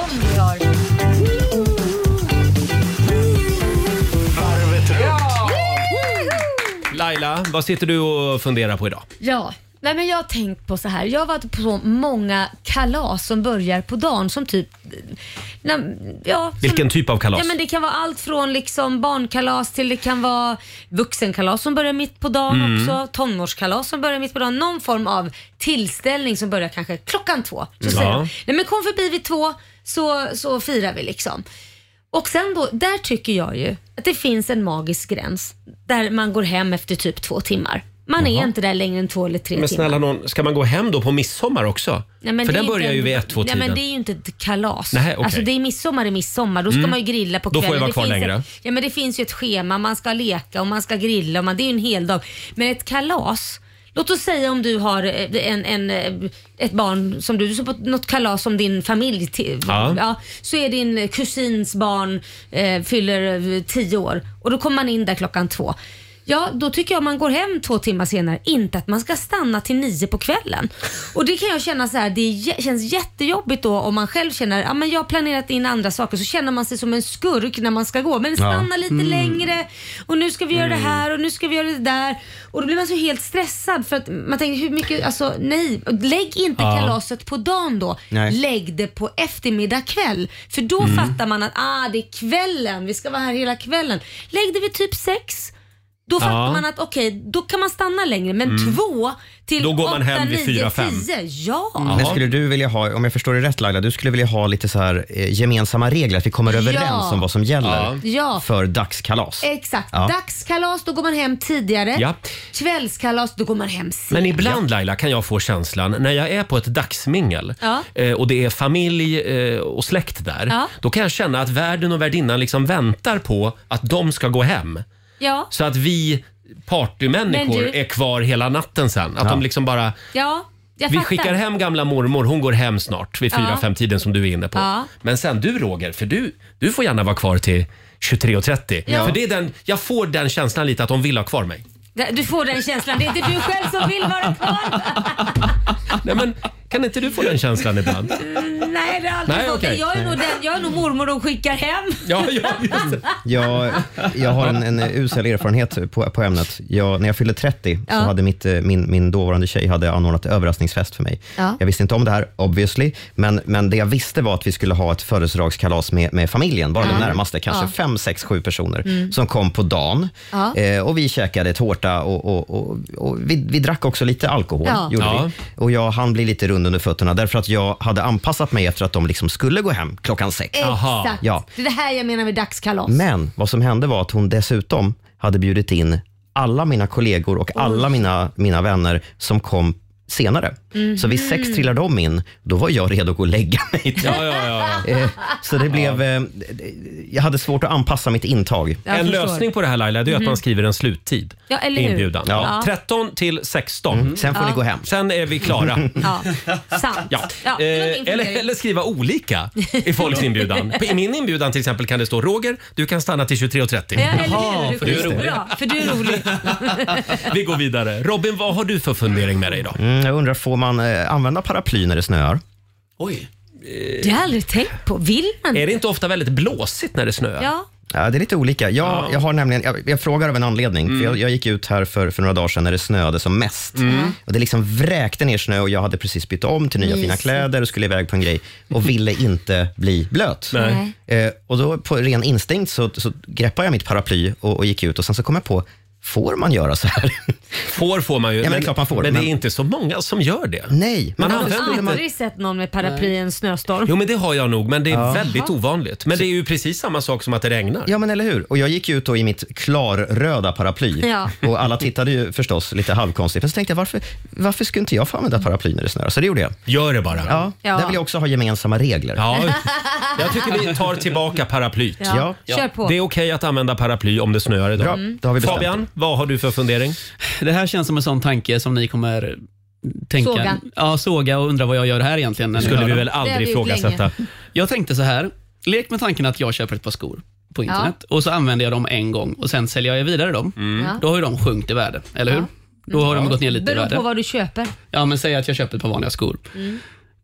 Laila, vad sitter du och funderar på idag?
Ja, nej men jag har tänkt på så här. Jag har varit på så många kalas som börjar på dagen som typ... när- ja,
Vilken typ av kalas?
Ja, men det kan vara allt från liksom barnkalas till det kan vara vuxenkalas som börjar mitt på dagen
Mm.
också. Tonårskalas som börjar mitt på dagen. Någon form av tillställning som börjar kanske klockan två. Så
Ja.
säger de, Nej, men kom förbi vid två så, så firar vi liksom. Och sen då, där tycker jag ju att det finns en magisk gräns där man går hem efter typ två timmar. Man är
Jaha.
inte där längre än två eller tre
Men
timmar.
snälla någon, ska man gå hem då på midsommar också?
Nej, men
För
det är
den
inte
börjar
en-
ju vid ett, två
Nej,
tiden.
men det är ju inte ett kalas.
Nej, okej.
Alltså det är midsommar i midsommar. Då ska
Mm.
man ju grilla på
Då får
kvällen.
jag vara
Det
kvar
finns
längre.
Ett, ja, men det finns ju ett schema. Man ska leka och man ska grilla. Och man, det är ju en hel dag. Men ett kalas. Låt oss säga om du har eh, en, en, eh, ett barn som du, du ska på något kalas som din familj till,
Ja.
så är din kusins barn eh, fyller eh, tio år och då kommer man in där klockan två. Ja, då tycker jag man går hem två timmar senare. Inte att man ska stanna till nio på kvällen. Och det kan jag känna så här, det är jä- känns jättejobbigt då om man själv känner, ja men jag har planerat in andra saker, så känner man sig som en skurk när man ska gå. Men stanna
Ja.
lite
Mm.
längre och nu ska vi göra
Mm.
det här och nu ska vi göra det där. Och då blir man så helt stressad för att man tänker hur mycket, alltså nej, lägg inte
Ja.
kalaset på dagen då.
Nej.
Lägg det på eftermiddag kväll. För då
Mm.
fattar man att ah, det är kvällen, vi ska vara här hela kvällen. Lägg det vid typ sex. Då
Ja.
fattar man att okej, då kan man stanna längre. Men
Mm.
två till
Då går
åtta,
man hem vid
nio,
fyra, fem. Mm.
tio. Ja.
Men skulle du vilja ha, om jag förstår det rätt Laila, du skulle vilja ha lite så här eh, gemensamma regler, att vi kommer
Ja.
överens om vad som gäller
Ja.
för dagskalas.
Exakt.
Ja.
Dagskalas, då går man hem tidigare.
Ja.
Kvällskalas, då går man hem sent.
Men ibland Laila kan jag få känslan när jag är på ett dagsmingel
Ja.
eh, och det är familj eh, och släkt där.
Ja.
Då kan jag känna att värden och värdinnan liksom väntar på att de ska gå hem.
Ja.
Så att vi partymänniskor
Men du-
är kvar hela natten sen. Att de liksom bara...
Ja, jag
Vi
fattar.
skickar hem gamla mormor, hon går hem snart vid
Ja.
fyra, fem tiden som du är inne på.
Ja.
Men sen du Roger, för du, du får gärna vara kvar till 23.30.
Ja.
För det är den, jag får den känslan lite att de vill ha kvar mig.
Du får den känslan. Det är inte du själv som vill vara kvar.
Nej, men, kan inte du få den känslan ibland?
Mm. Nej, det har jag aldrig
Nej,
fått.
okej.
Jag, är nog den, jag är nog mormor de skickar hem.
Ja, ja,
Jag, jag har en, en usel erfarenhet på, på ämnet. Jag, när jag fyllde 30
Ja.
så hade mitt, eh, min, min dåvarande tjej hade anordnat överraskningsfest för mig.
Ja.
Jag visste inte om det här, obviously, men, men det jag visste var att vi skulle ha ett födelsedagskalas med, med familjen, bara
Ja.
de närmaste, kanske
Ja.
fem, sex, sju personer,
Mm.
som kom på dagen.
Ja.
Eh, och vi käkade tårta och, och, och, och vi, vi drack också lite alkohol.
Ja.
Gjorde
Ja.
Vi. Och jag hann bli lite rund under fötterna, därför att jag hade anpassat mig efter att de liksom skulle gå hem klockan sex.
Exakt.
Ja.
Det är det här jag menar med dagskalas.
Men vad som hände var att hon dessutom hade bjudit in alla mina kollegor och alla mina, mina vänner som kom senare.
Mhm.
Så vid sex trillade de in, då var jag redo att gå och lägga mig.
Ja, ja, ja,
Eh, Så det blev... eh, Jag hade svårt att anpassa mitt intag.
Jag
en
förstår.
lösning på det här Laila, det är att
Mhm.
man skriver en sluttid.
Ja, eller
i
hur?
inbjudan.
Ja. Ja.
13 till 16.
Sen
Mm. får ni Ja. gå hem.
Sen är vi klara.
Ja, sant.
Ja.
Ja, det var min
Eh, eller,
fundering.
eller skriva olika i folks inbjudan. På- I min inbjudan till exempel kan det stå Roger, du kan stanna till 23.30.
Ja, eller hur?
för
Du
du
är
är rolig.
Bra, för du är rolig.
Vi går vidare. Robin, vad har du för fundering med dig idag?
Mm, jag undrar, får man eh, använda paraply när det snöar?
Oj.
Det har jag aldrig tänkt på. Vill man
Är det inte ofta väldigt blåsigt när det snöar?
Ja.
Ja, det är lite olika. Jag, jag, har nämligen, jag, jag frågar av en anledning. För
Mm.
jag, jag gick ut här för, för några dagar sedan när det snöade som mest.
Mm.
Och det liksom vräkte ner snö och jag hade precis bytt om till nya fina
Mysigt.
kläder och skulle iväg på en grej och ville inte bli blöt.
Nej.
Eh, och då på ren instinkt så, så greppade jag mitt paraply och, och gick ut och sen så kom jag på, får man göra så här?
Får får man ju.
Ja, men det är klart man får.
men det är
Men-
inte så många som gör det.
Nej.
Man
jag
använder
har
inte-
aldrig sett någon med paraply i en snöstorm.
Jo, men det har jag nog, men det är
Ja.
väldigt
Jaha.
ovanligt. Men det är ju precis samma sak som att det regnar.
Ja, men eller hur? Och jag gick ut då i mitt klarröda paraply
Ja.
och alla tittade ju förstås lite halvkonstigt. Men så tänkte jag, varför, varför skulle inte jag få använda paraply när det snöar? Så det gjorde jag.
Gör det bara.
Ja,
Ja.
där vill jag också ha gemensamma regler.
Ja, jag tycker vi tar tillbaka paraplyt.
Ja. Ja. Kör på.
Det är okej att använda paraply om det snöar idag.
Bra, Mm. då har vi bestämt
Fabian, vad har du för fundering?
Det här känns som en sån tanke som ni kommer tänka.
Såga.
Ja, såga och undra vad jag gör här egentligen. när ni
Skulle
hör
vi
dem.
väl aldrig Det har vi gjort ifrågasätta. länge.
Jag tänkte så här. Lek med tanken att jag köper ett par skor på internet och så använder jag dem en gång och sen säljer jag vidare dem.
Mm.
Ja.
Då har ju de sjunkit i värde, eller hur? Då har de gått ner lite i
Beror
värde.
på vad du köper.
Ja, men säg att jag köper ett par vanliga skor.
Mm.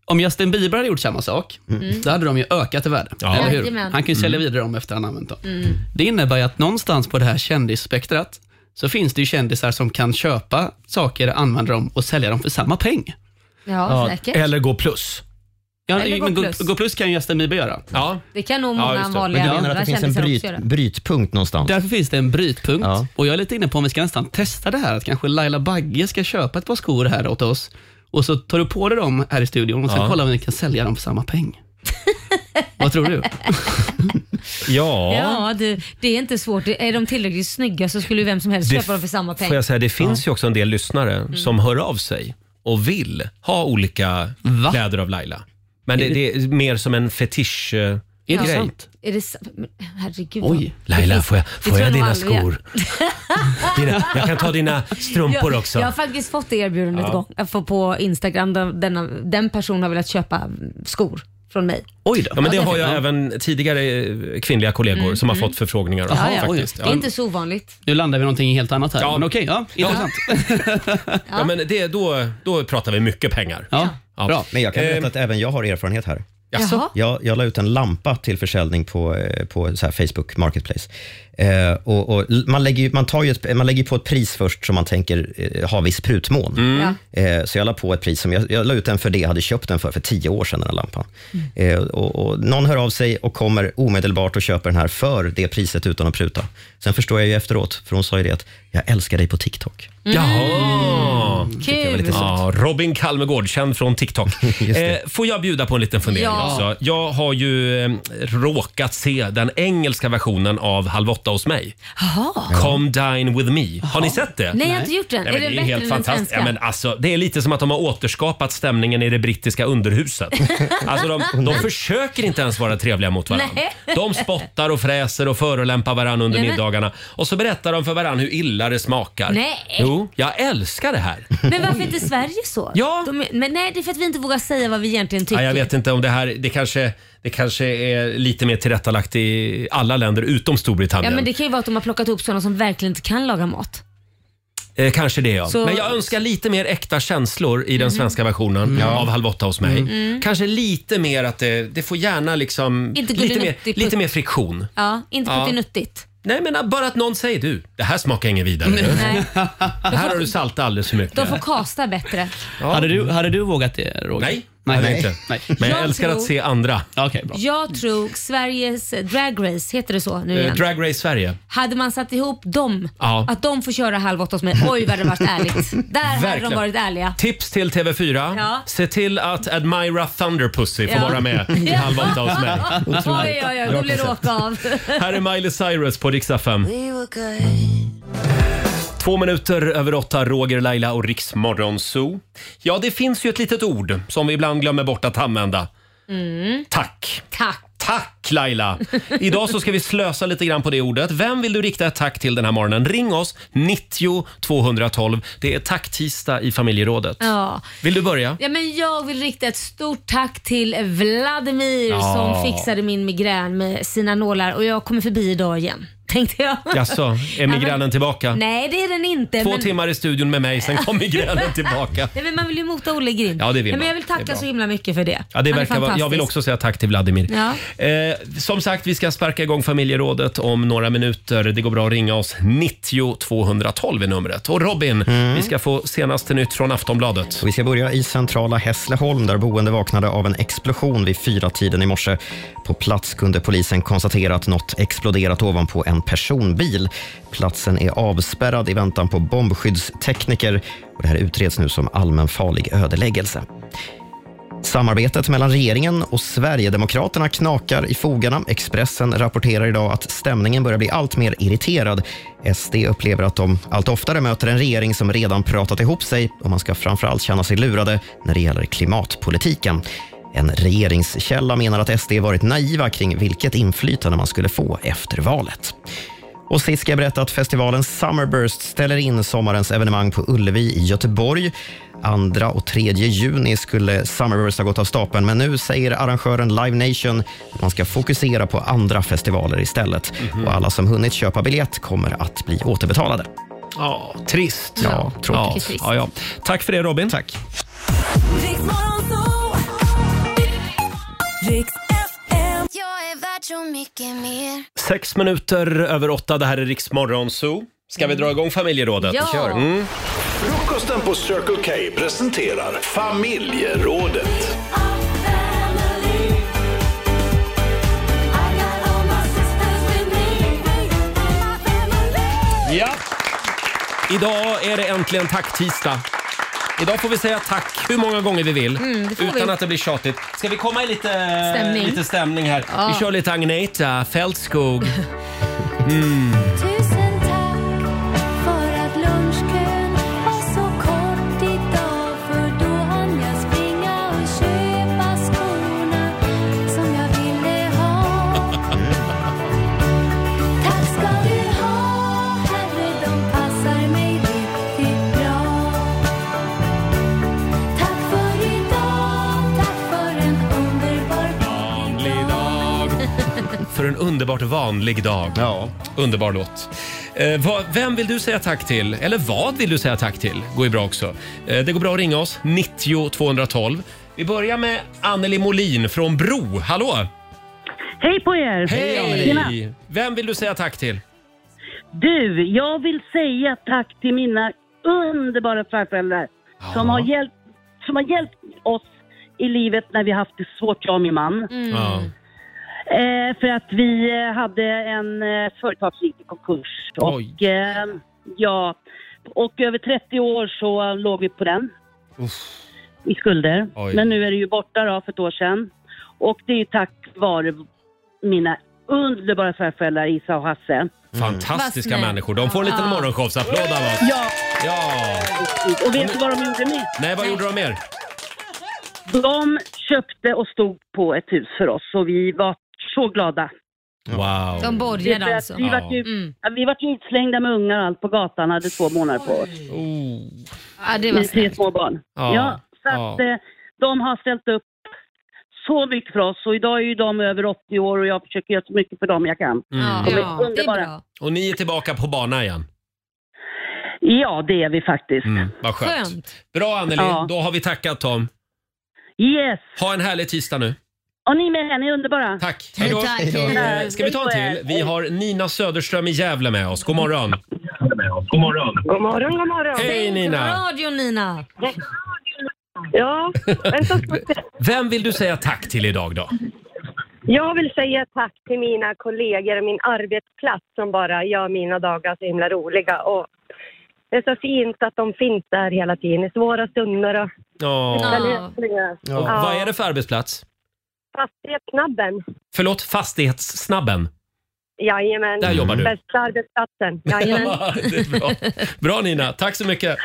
Om Justin Bieber hade gjort samma sak,
Mm.
då hade de ju ökat i värde.
Ja.
Eller hur?
Jajamän.
Han kan ju sälja
Mm.
vidare dem efter han använt dem.
Mm.
Det innebär ju att någonstans på det här kändisspektrat så finns det ju kändisar som kan köpa saker, använda dem och sälja dem för samma peng.
Ja, säkert.
gå plus.
Ja,
Eller gå
men gå,
plus.
gå plus kan ju Justin Bieber göra.
Ja.
Det kan nog många vanliga
Men du menar
andra
att det finns en
kändisar
bryt,
också göra.
brytpunkt någonstans?
Därför finns det en brytpunkt. Och jag är lite inne på om vi ska nästan testa det här, att kanske Laila Bagge ska köpa ett par skor här åt oss och så tar du på dig dem här i studion och sen
Ja.
kollar vi om vi kan sälja dem för samma peng. Vad tror du?
Ja.
Ja, du, det är inte svårt. Är de tillräckligt snygga så skulle ju vem som helst
Det
köpa dem för samma pengar.
Får jag säga, det finns ju också en del lyssnare
Mm.
som hör av sig och vill ha olika kläder av Laila. Men det, det är mer som en fetisch eh,
Ja.
grej.
Är det sant? Men Herregud.
Oj.
vad-
Laila, får jag,
Det
får
tror
jag
nog
dina
aldrig jag-
skor? Dina, jag kan ta dina strumpor
jag,
också.
Jag har faktiskt fått det erbjudandet
Ja.
ja. gång, jag får på Instagram. Den, den, den personen har velat köpa skor. från mig.
Oj då.
Ja, men det
Ja,
har jag
därför.
även tidigare eh, kvinnliga kollegor
Mm,
som har
mm.
fått förfrågningar. och
Ja,
så
ja.
faktiskt.
Det är inte så ovanligt.
Nu landar vi i någonting helt annat här. Men okej, ja, intressant.
Ja. men det, då, då pratar vi mycket pengar.
Ja.
Bra.
Men jag kan berätta
Eh,
att även jag har erfarenhet här.
Jaså?
Jag, jag la ut en lampa till försäljning på, eh, på så här Facebook Marketplace. Eh, och, och l- man, lägger, ju- man, tar ju ett, man lägger på ett pris först som man tänker eh, ha viss prutmån.
Mm.
Eh, så jag la på ett pris som jag, jag la ut den för det jag hade köpt den för, för tio år sedan, den här lampan. Eh, och, och någon hör av sig och kommer omedelbart och köper den här för det priset utan att pruta. Sen förstår jag ju efteråt, för hon sa ju det att jag älskar dig på TikTok.
Jaha!
Mm,
Kul.
Ah. Ja, Robin Kalmegård, känd från TikTok. Eh, får jag bjuda på en liten fundering
Ja.
också? Jag har ju eh, råkat se den engelska versionen av Halv åtta hos mig.
Jaha.
Come dine with me. Har ni sett det?
Nej, jag har inte gjort den.
Nej,
är
men
den
det är helt
bättre än den
fantastiskt.
svenska?
Ja, men alltså, det är lite som att de har återskapat stämningen i det brittiska underhuset. Alltså, de, de försöker inte ens vara trevliga mot varandra.
Nej.
De spottar och fräser och förolämpar varandra under
Nej, men-
middagarna. Och så berättar de för varandra hur illa det smakar.
Nej.
Jo, jag älskar det här.
Men varför inte Sverige så? Ja. De, är- men nej, det är för att vi inte vågar säga vad vi egentligen tycker.
Ja, jag vet inte om det här, det kanske, det kanske är lite mer tillrättalagt i alla länder utom
Ja,
Storbritannien.
men det kan ju vara att de har plockat upp sådana som verkligen inte kan laga mat.
eh, kanske det ja.
Så-
Men jag önskar lite mer äkta känslor i den
Mhm.
svenska versionen
Mm.
av Halv åtta hos mig.
Mm.
Kanske lite mer att det, det får gärna liksom,
Inte
lite, mer,
gullinutti-
lite mer friktion.
Ja, inte
Ja.
puttinuttigt.
Nej men bara att någon säger du, det här smakar inget vidare.
Nej.
Här har du saltat alldeles för mycket.
De får kasta bättre.
Hade, du, hade du vågat det, Roger?
Nej,
Nej.
hade jag inte.
Nej.
Men jag,
Jag
älskar att
tror-
se andra.
Okej, bra.
Jag tror Sveriges eh, Drag Race, heter det så nu
Eh,
igen?
Drag Race Sverige.
Hade man satt ihop dem,
Ja.
att de får köra Halv åtta hos mig, oj vad det hade varit ärligt. Där hade
Verkligen.
de varit ärliga.
Tips till TV4.
Ja.
Se till att Admira Thunderpussy får
Ja.
vara med i
Ja.
Halv åtta hos mig.
Oj, oj, oj, då blir det åka av.
Här är Miley Cyrus på riksdag 5. Två minuter över åtta, Roger, Laila och Riksmorgon Zoo. Ja, det finns ju ett litet ord som vi ibland glömmer bort att använda.
Mm.
Tack.
Tack.
Tack Laila! Idag så ska vi slösa lite grann på det ordet. Vem vill du rikta ett tack till den här morgonen? Ring oss, 90 212. Det är tacktisdag i familjerådet.
Ja.
Vill du börja?
Ja, men jag vill rikta ett stort tack till Vladimir
Ja.
som fixade min migrän med sina nålar och jag kommer förbi idag igen. Tänkte jag.
Jaså, är migränen tillbaka?
Nej det är den inte.
Två
men-
timmar i studion med mig, sen kom migränen tillbaka.
Nej, men man vill ju mota Olle i grind.
Ja, det vill
Nej,
man.
men jag vill
Det är
tacka
bra.
så himla mycket för det.
Ja, det
Han är
verkar vara, jag vill
fantastisk.
också säga tack till Vladimir.
Ja.
Eh, som sagt, vi ska sparka igång familjerådet om några minuter. Det går bra att ringa oss. 90 212 är numret. Och Robin, vi ska få senaste nytt från Aftonbladet.
Vi ska börja i centrala Hässleholm där boende vaknade av en explosion vid fyra tiden i morse. På plats kunde polisen konstatera att något exploderat ovanpå en personbil. Platsen är avspärrad i väntan på bombskyddstekniker och det här utreds nu som allmänfarlig ödeläggelse. Samarbetet mellan regeringen och Sverigedemokraterna knakar i fogarna. Expressen rapporterar idag att stämningen börjar bli allt mer irriterad. SD upplever att de allt oftare möter en regering som redan pratat ihop sig och man ska framförallt känna sig lurade när det gäller klimatpolitiken. En regeringskälla menar att SD varit naiva kring vilket inflytande man skulle få efter valet. Och sist ska jag berätta att festivalen Summerburst ställer in sommarens evenemang på Ullevi i Göteborg. 2 och 3 juni skulle Summerburst ha gått av stapeln, men nu säger arrangören Live Nation att man ska fokusera på andra festivaler istället.
Mhm.
Och alla som hunnit köpa biljett kommer att bli återbetalade.
Ja, trist.
Ja, tråkigt.
Ja, ja. Tack för det Robin. Tack.
Jag är värd så mycket mer
Sex minuter över åtta, det här är Riksmorgon Zoo. Ska vi
Mm.
dra igång familjerådet?
Ja. Vi kör.
Mm.
Frukosten på Circle K presenterar familjerådet.
Ja. Idag är det äntligen tacktisdag. Idag får vi säga tack hur många gånger vi vill
Mm, det får
utan
vi.
att det blir tjatigt. Ska vi komma i lite
Stämning.
lite stämning här?
Ja.
Vi kör lite Agneta Fältskog. Mm.
Tusen tack för att lunchkön var så kort idag För då hann jag springa och köpa skorna som jag ville ha Tack ska du ha, herre, de passar mig riktigt bra Tack för idag, tack för en underbar
underbart vanlig dag. Underbar låt. Eh, vad, vem vill du säga tack till? Eller vad vill du säga tack till? Går ju bra också. Eh, det går bra att ringa oss. 90 212. Vi börjar med Anneli Molin från Bro. Hallå!
Hej på er!
Hej
Tjena.
Anneli! Vem vill du säga tack till?
Du, jag vill säga tack till mina underbara farföräldrar som, har hjälpt, som har hjälpt oss i livet när vi haft det svårt, jag och min man.
Mm.
Eh, för att vi eh, hade en eh, företagsliknande konkurs.
Oj.
Och, eh, ja, och över 30 år så låg vi på den. i skulder. Men nu är det ju borta då för ett år sedan. Och det är tack vare mina underbara farföräldrar Isa och Hasse.
Fantastiska
Vad snällt.
människor. De får en liten
Ja.
morgonshowsapplåd av oss.
Ja.
Ja.
Och vet du vad de gjorde mer?
Nej, vad gjorde de mer?
De köpte och stod på ett hus för oss och vi var så glada.
Wow.
De
Det är för
borgade
att
alltså.
Vi vart ju, ja, vi vart ju utslängda med ungar och allt på gatan hade två månader på oss.
Ja, det var
Vi tre
snällt.
små barn.
Ja.
Ja, så att
Ja.
eh, de har ställt upp så mycket för oss och idag är ju de över 80 år och jag försöker göra så mycket för dem jag kan. De är
Mm. Ja, det är
underbara.
bra.
Och ni är tillbaka på banan igen.
Ja, det är vi faktiskt.
Mm, vad skönt. Bra Anneli,
Ja.
då har vi tackat Tom.
Yes.
Ha en härlig tisdag nu.
Och ni med, ni är underbara.
Tack. Hej då. Eh, Ska vi ta en till? Vi har Nina Söderström i Gävle med oss. God morgon. God morgon.
God morgon, god morgon.
Hej Nina.
Radio Nina.
Ja, vänta.
Vem vill du säga tack till idag då?
jag vill säga tack till mina kollegor och min arbetsplats som bara gör mina dagar så himla roliga. Och det är så fint att de finns där hela tiden i svåra stunder och
Ja.
hitta lösningar.
Och Vad är det för arbetsplats?
Fastighetsknabben.
Förlåt, Fastighetssnabben.
Jajamän.
Där jobbar du.
Bästa arbetsplatsen. Jajamän.
Det är bra. bra Nina, tack så mycket.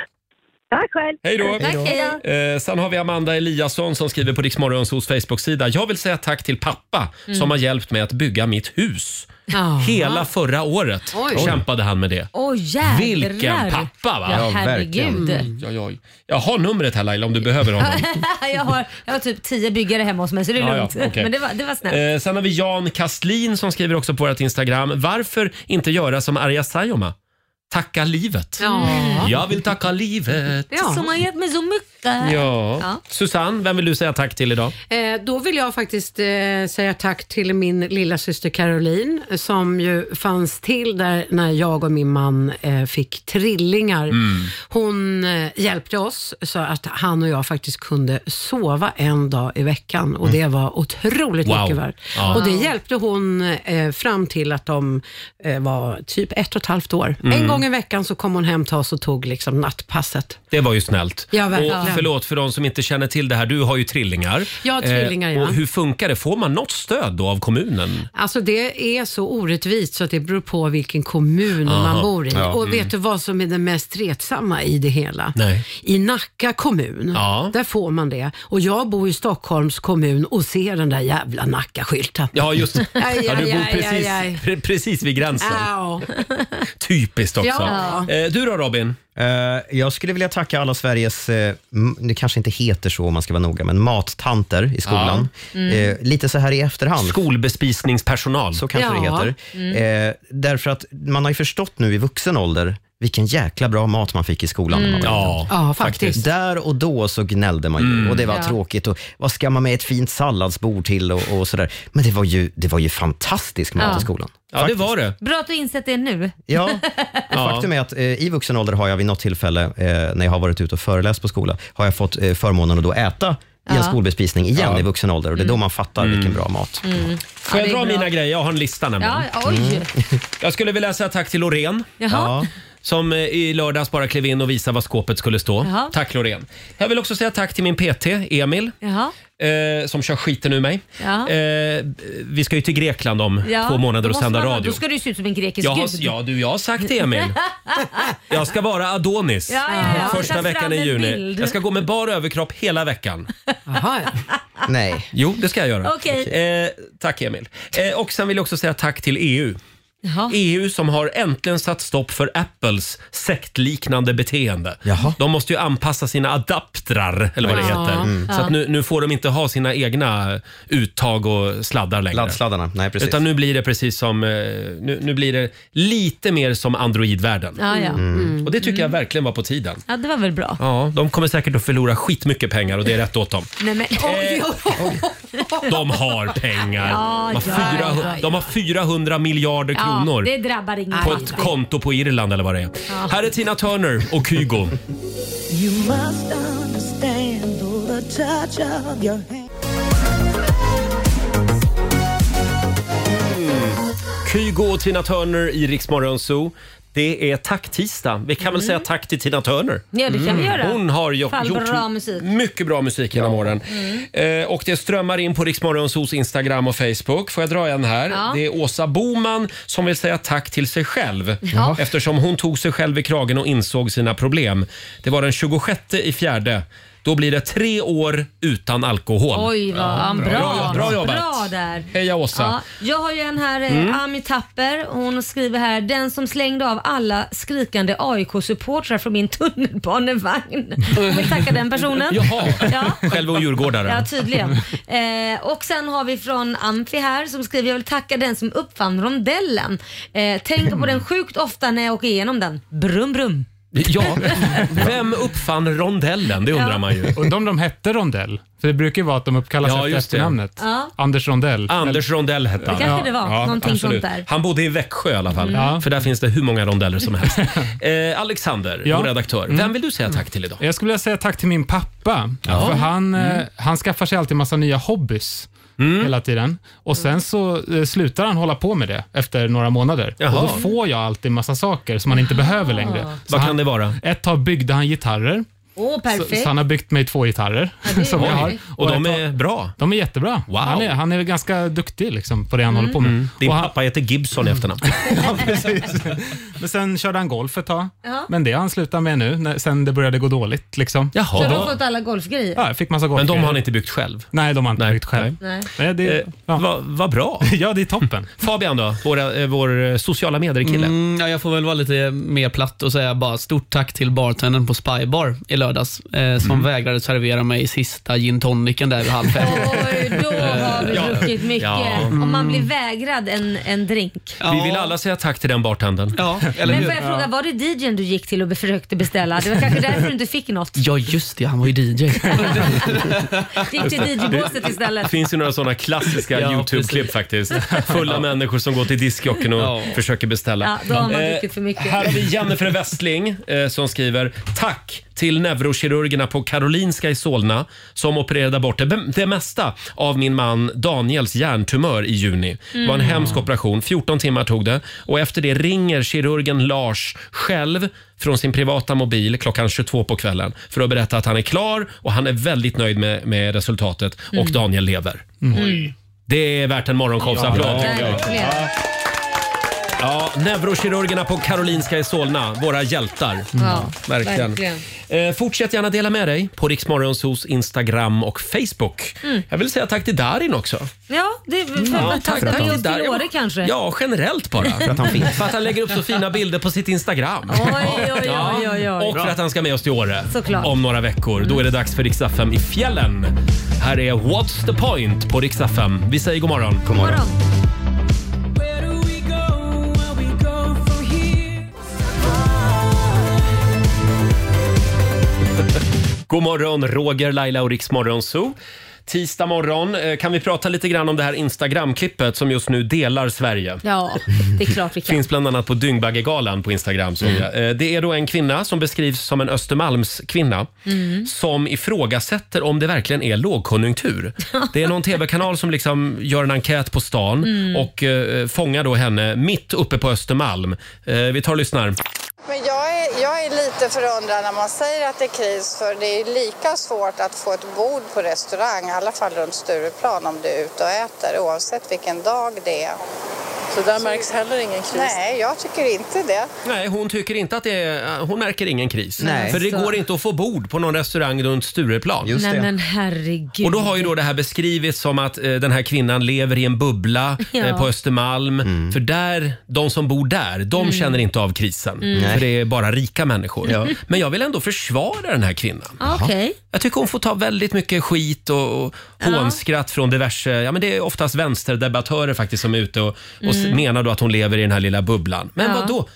tack själv.
Hej då.
Tack, hej.
Eh, sen har vi Amanda Eliasson som skriver på Riksmorgonsos Facebook-sida. Jag vill säga tack till pappa
Mm.
som har hjälpt mig att bygga mitt hus.
Ja.
Hela förra året
Oj.
kämpade han med det.
Åh jädrar.
Vilken pappa va?
Ja, herregud.
Oj, oj, oj. Jag har numret här Laila om du behöver honom.
jag, har, jag har typ tio byggare hemma hos mig så det är
Ja, ja,
lugnt.
okej.
Men det var, det var snällt.
Eh, sen har vi Jan Kastlin som skriver också på vårt Instagram. Varför inte göra som Arja Saijonmaa? Tacka livet.
Ja.
Jag vill tacka livet.
Som har gett mig så mycket.
Ja. Susanne, vem vill du säga tack till idag?
Eh, då vill jag faktiskt eh, säga tack till min lilla syster Caroline som ju fanns till där när jag och min man eh, fick trillingar.
Mm.
Mm.
Hon eh, hjälpte oss så att han och jag faktiskt kunde sova en dag i veckan och det var otroligt
Mm. Wow.
mycket värt.
Ja.
Och det hjälpte hon eh, fram till att de eh, var typ ett och ett halvt år.
Mm.
En gång i veckan så kom hon hem till oss och tog liksom nattpasset.
Det var ju snällt.
Ja, verkligen.
och förlåt för de som inte känner till det här. Du har ju trillingar. Eh,
Ja, trillingar, ja.
Och hur funkar det? Får man något stöd då av kommunen?
Alltså det är så orättvist så att det beror på vilken kommun
Aha.
man bor i.
Ja.
Och
Mm.
vet du vad som är det mest retsamma i det hela?
Nej.
I Nacka kommun, där får man det. Och jag bor i Stockholms kommun och ser den där jävla Nacka-skylten.
Ja, just det.
Aj, aj,
Ja, du bor
aj,
precis,
aj, aj. Ah.
pre- precis vid gränsen.
Ja.
Typiskt också.
Ja.
Eh, Du då Robin?
Eh, jag skulle vilja tacka alla Sveriges, eh, m- det kanske inte heter så om man ska vara noga, men mattanter i skolan.
Ja. Mm.
Eh, lite så här i efterhand.
Skolbespisningspersonal.
Så kanske det
Ja.
heter.
Mm.
Eh, därför att man har ju förstått nu i vuxen ålder vilken jäkla bra mat man fick i skolan. när man
Mm.
var liten.
Ja. Ja, faktiskt.
Där och då så gnällde man ju
Mm.
och det var
Ja.
tråkigt. Och vad ska man med ett fint salladsbord till och, och sådär. Men det var ju, det var ju fantastisk mat
Ja.
i skolan.
Ja, det var det.
Bra att du insett det nu.
Ja, Och Faktum är att eh, i vuxen ålder har jag vid något tillfälle, eh, när jag har varit ute och föreläst på skola, har jag fått eh, förmånen att då äta i
Ja.
en skolbespisning igen
Ja.
i vuxen ålder och det är då man fattar vilken bra mat.
Mm.
Får jag
Ja, det
dra
är bra.
mina grejer? Jag har en lista nämligen.
Ja, oj. Mm.
Jag skulle vilja säga tack till Loreen.
Jaha.
Som eh, i lördags bara klev in och visade vad skåpet skulle stå.
Jaha.
Tack Loreen. Jag vill också säga tack till min PT, Emil.
Jaha.
Eh, som kör skiten ur mig.
Ja.
Eh, vi ska ju till Grekland om
Ja,
två månader och
då måste
sända
man ha-
radio.
Då ska du se ut som en grekisk
Jag har,
gud.
ja, du, jag har sagt det Emil. Jag ska vara Adonis
Ja, ja, ja.
första
Ta
veckan
fram
i
en
juni.
bild.
Jag ska gå med bar överkropp hela veckan.
Nej.
Jo, det ska jag göra.
Okej.
Eh, tack Emil. Eh, och sen vill jag också säga tack till EU. EU som har äntligen satt stopp för Apples sektliknande beteende. De måste ju anpassa sina adaptrar, eller vad det
Ja.
heter.
Mm.
Så att nu, nu får de inte ha sina egna uttag och sladdar längre.
Laddsladdarna, nej precis.
Utan nu blir det precis som, eh, nu, nu blir det lite mer som Android-världen.
Ja, ja. Mm.
Och det tycker jag verkligen var på tiden.
Ja, det var väl bra.
Ja, de kommer säkert att förlora skitmycket pengar och det är rätt åt dem.
Nej, men, oj, oj, oj.
De har pengar.
Ja,
de, har
ja,
400,
ja, ja.
de har 400 miljarder kronor
Ja, det drabbar ingen.
på ett konto på Irland eller vad det är.
Ja.
Här är Tina Turner och Kygo.
You must understand the touch of your hand.
Kygo och Tina Turner i Rix Morgon Zoo. Det är tack-tisdag. Vi kan väl säga tack till Tina Turner.
Mm.
Mm.
Ja, det kan vi göra.
Hon har gjort,
Fall
gjort
bra musik. Mm.
mycket bra musik genom åren. Eh, och det strömmar in på Rix Morgon Zoos Instagram och Facebook. Får jag dra en här?
Ja.
Det är Åsa Boman som vill säga tack till sig själv.
Ja.
Eftersom hon tog sig själv i kragen och insåg sina problem. Det var den 26 i fjärde. Då blir det tre år utan alkohol.
Oj, vad
Ja,
bra.
Bra, bra jobbat.
Bra där.
Heja Åsa.
Ja, jag har ju en här, eh,
Mm.
Ami Tapper. Hon skriver här, den som slängde av alla skrikande AIK-supportrar från min tunnelbanevagn. Jag vill tacka den personen.
Jaha,
Ja.
själv och djurgårdare.
Ja, tydligen. Eh, och sen har vi från Amfi här som skriver, jag vill tacka den som uppfann rondellen. Eh, tänker på den sjukt ofta när jag åker igenom den. Brum brum.
Ja, vem uppfann rondellen? Det undrar
Ja.
man ju.
Undrar om de hette Rondell? För det brukar ju vara att de uppkallas
Ja,
efter
just det.
efternamnet.
Ja.
Anders Rondell.
Anders Rondell hette han.
Det kanske det var, någonting sånt där.
Han bodde i Växjö i alla fall,
Mm.
för där finns det hur många rondeller som helst. Eh, Alexander,
Ja. Mm.
vår redaktör, vem vill du säga tack till idag?
Jag skulle vilja säga tack till min pappa.
Ja.
För han, eh,
Mm.
han skaffar sig alltid massa nya hobbys hela tiden. Och sen så eh, slutar han hålla på med det efter några månader.
Jaha. Ah.
Och då får jag alltid massa saker som man inte behöver längre. Så
Vad kan
han,
det vara?
Ett tag byggde han gitarrer.
Åh,
Så,
perfekt.
så han har byggt mig två gitarrer.
det är
som jag
bra.
har.
Och de
ett tag-
är bra?
De är jättebra. Han, är, han är ganska duktig liksom, på det han
Mm.
håller på med.
Mm. Din
Och han,
pappa heter Gibson i efternamn.
ja, precis. Men sen körde han golf ett tag.
Ja.
Men det har han slutat med nu, när, sen det började gå dåligt. Liksom.
Så
Jaha.
har de fått alla golfgrejer?
ja, jag fick massa golfgrejer.
Men de har han inte byggt själv?
Nej, de har inte byggt själv.
Nej.
Nej, det,
Eh, Vad vad bra.
ja, det är toppen.
Fabian då, vår, eh, vår eh, sociala medier-kille.
Mm, ja, jag får väl vara lite mer platt och säga bara stort tack till bartendern på Spybar i lördags eh, som
Mm.
vägrade servera mig sista gin tonicen där vid halv fem.
Oj, då
Eh,
har vi
Ja.
druckit mycket.
Ja.
Om man blir vägrad en, en drink.
Vi vill alla säga tack till den bartendern.
Ja,
Men får jag fråga, var det DJn du gick till och försökte beställa? Det var kanske därför du inte fick något.
Ja, just det. Han var ju DJ.
Gick till DJ-båset
Det
istället.
finns ju några sådana klassiska
Ja,
YouTube-klipp faktiskt. Fulla människor som går till diskjocken och försöker beställa.
Ja, då har man
Eh,
druckit för mycket.
Här har vi Jennifer Westling eh, som skriver Tack till neurokirurgerna på Karolinska i Solna som opererade bort det, det mesta av min man Daniels hjärntumör i juni. Det var en
Mm.
hemsk operation, 14 timmar tog det och efter det ringer kirurgen Lars själv från sin privata mobil klockan 22 på kvällen för att berätta att han är klar och han är väldigt nöjd med, med resultatet och
Mm.
Daniel lever.
Oj.
Det är värt en morgonshowsapplåd
Ja,
tycker jag.
verkligen.
Ja, neurokirurgerna på Karolinska i Solna, våra hjältar.
Mm.
Ja,
verkligen.
verkligen.
Eh, fortsätt gärna dela med dig på Riksmorgonsos Instagram och Facebook.
Mm.
Jag vill säga tack till Darin också.
Ja, det för
Ja,
ja,
tack
tack
för att
för
han
just
är
till
där.
Åre kanske.
Ja, generellt bara.
För att han finns.
För att han lägger upp så fina bilder på sitt Instagram.
Oj, oj, oj, oj, oj.
Och för att han ska med oss till Åre
Såklart.
om några veckor. Då är det dags för Rix FM i fjällen. Här är What's the point på Rix FM. Vi säger god morgon. God morgon. God morgon, Roger, Laila och Riks Morgonzoo. Tisdag morgon. Eh, Kan vi prata lite grann om det här Instagram-klippet som just nu delar Sverige?
Ja, det är klart vi kan.
Finns bland annat på Dyngbaggegalan på Instagram. såg
Mm.
jag. Eh, Det är då en kvinna som beskrivs som en Östermalmskvinna
Mm.
som ifrågasätter om det verkligen är lågkonjunktur. Det är någon tv-kanal som liksom gör en enkät på stan
Mm.
och eh, fångar då henne mitt uppe på Östermalm. Eh, vi tar och lyssnar.
Men jag är, jag är lite förundrad när man säger att det är kris för det är lika svårt att få ett bord på restaurang, i alla fall runt Stureplan om du är ute och äter oavsett vilken dag det är.
Så där märks heller ingen kris.
Nej, jag tycker inte det.
Nej, hon tycker inte att det är, hon märker ingen kris.
Nej.
För det
Så.
går inte att få bord på någon restaurang runt Stureplan.
Nej men herregud.
Och då har ju då det här beskrivits som att eh, den här kvinnan lever i en bubbla
Ja.
eh, på Östermalm. För där, de som bor där, de
Mm.
känner inte av krisen.
Mm. Nej.
För det är bara rika människor.
Ja.
Men jag vill ändå försvara den här kvinnan.
Ja, Okej.
Jag tycker hon får ta väldigt mycket skit och, och hånskratt från diverse, ja men det är oftast vänsterdebattörer faktiskt som är ute och, och s-
Mm.
menar då att hon lever i den här lilla bubblan. Men
Ja.
vad då?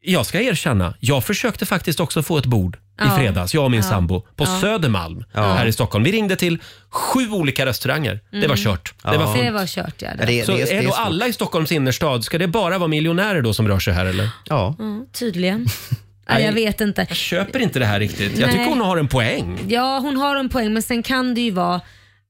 Jag ska erkänna, jag försökte faktiskt också få ett bord
Ja.
i fredags, jag och min
Ja.
sambo, på
Ja.
Södermalm här i Stockholm. Vi ringde till sju olika restauranger. Det var
Mm.
kört. Det var fullt.
Det var kört ja.
Så är då alla i Stockholms innerstad, ska det bara vara miljonärer då som rör sig här eller?
Ja.
Mm, tydligen. Nej, jag vet inte.
Jag köper inte det här riktigt. Jag
Nej.
tycker hon har en poäng.
Ja, hon har en poäng, men sen kan det ju vara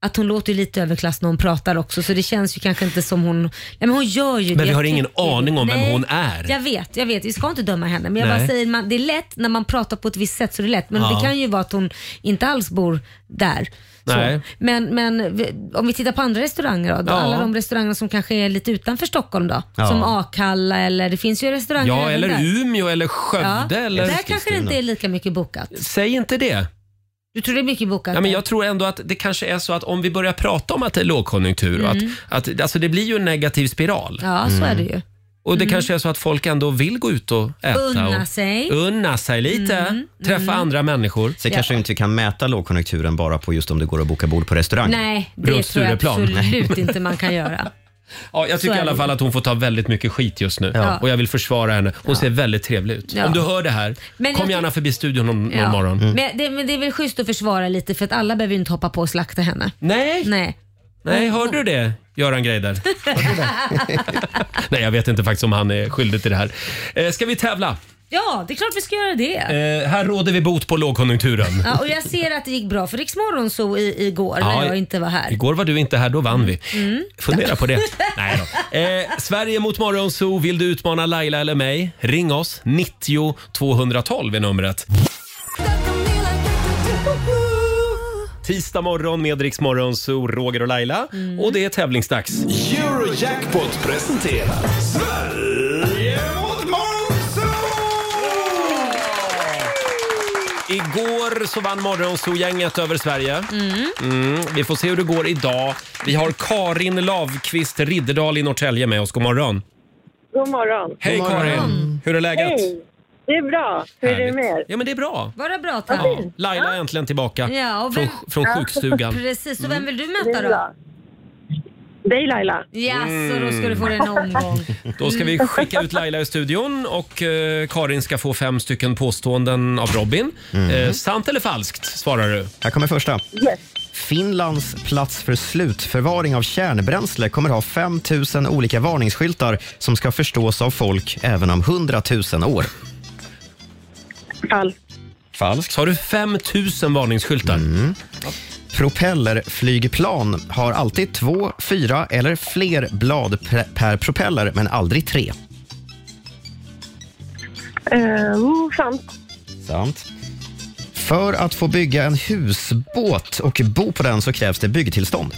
att hon låter ju lite överklass när hon pratar också, så det känns ju kanske inte som hon... Nej, men hon gör ju
Men
det.
vi har ingen
tycker-
aning om vem
Nej,
hon är.
Jag vet, jag vet. Vi ska inte döma henne, men jag
Nej.
bara säger, man, det är lätt när man pratar på ett visst sätt så är det lätt, men
Ja.
det kan ju vara att hon inte alls bor där. Så.
Nej.
Men, men vi- om vi tittar på andra restauranger då, då
Ja.
alla de restauranger som kanske är lite utanför Stockholm då,
Ja.
som Akalla eller det finns ju restauranger
Ja,
även
eller
där.
Umeå eller Skövde eller...
Där kanske det inte är lika mycket bokat.
Säg inte det.
Du tror det är mycket bokat?
Ja, men jag tror ändå att det kanske är så att om vi börjar prata om att det är lågkonjunktur, och
Mm.
att, att, alltså det blir ju en negativ spiral.
Ja, så är det ju.
Och det
Mm.
kanske är så att folk ändå vill gå ut och äta.
Unna
och,
sig.
Unna sig lite.
Mm,
Träffa
mm.
andra människor.
Sen
Ja.
kanske inte vi kan mäta lågkonjunkturen bara på just om det går att boka bord på restaurang.
Nej, det tror jag absolut inte man kan göra.
Ja, jag tycker
Så
i
är
alla
det.
fall att hon får ta väldigt mycket skit just nu.
Ja.
Och jag vill försvara henne. Hon ser väldigt trevlig ut.
Ja.
Om du hör det här,
Men jag
kom
ty-
gärna förbi studion någon, någon
Ja. Mm.
morgon. Mm.
Men, det, men det är väl schysst att försvara lite för att alla behöver ju inte hoppa på och slakta henne.
Nej.
Nej.
Nej, hörde du det, Göran Greider? Nej, jag vet inte faktiskt om han är skyldig till det här. Eh, ska vi tävla?
Ja, det är klart vi ska göra det.
Eh, här råder vi bot på lågkonjunkturen.
Ja, och jag ser att det gick bra för Rix så i, igår
Ja,
när jag inte var här.
Igår var du inte här, då vann vi.
Mm.
Fundera på det. Nej då. Eh, Sverige mot Morgonzoo. Vill du utmana Laila eller mig? Ring oss. 90 212 är numret. Tisdag morgon med Rix Morgonzoo, Roger och Laila. Och det är tävlingsdags.
Eurojackpot presenterar Sverige mot
Igår så vann Morgonzoo-gänget över Sverige.
Mm.
Mm, vi får se hur det går idag. Vi har Karin Lavqvist Ridderdal i Norrtälje med oss. God morgon.
God morgon.
Hej Karin! Hur är läget?
Hej. Det är bra. Hur är det med er?
Ja men det är bra.
Var det bra tack?
Ja, Laila är äntligen tillbaka
Ja, och
från,
vem-
från sjukstugan.
Precis, och
Mm.
vem vill du
Det
möta
är
då?
bra. Dig Laila.
Ja,
Mm.
så då ska du få dig en omgång.
Då ska vi skicka ut Laila i studion och eh, Karin ska få fem stycken påståenden av Robin. Eh, sant eller falskt svarar du.
Mm. Här kommer första. Finlands plats för slutförvaring av kärnbränsle kommer ha 5 000 olika varningsskyltar som ska förstås av folk även om 100 000 år.
Falskt.
Falskt. Mm.
Har du 5 000 varningsskyltar?
Propellerflygplan har alltid två, fyra eller fler blad pre- per propeller, men aldrig tre.
Eh,
Uh, sant.
Sant. För att få bygga en husbåt och bo på den så krävs det byggtillstånd.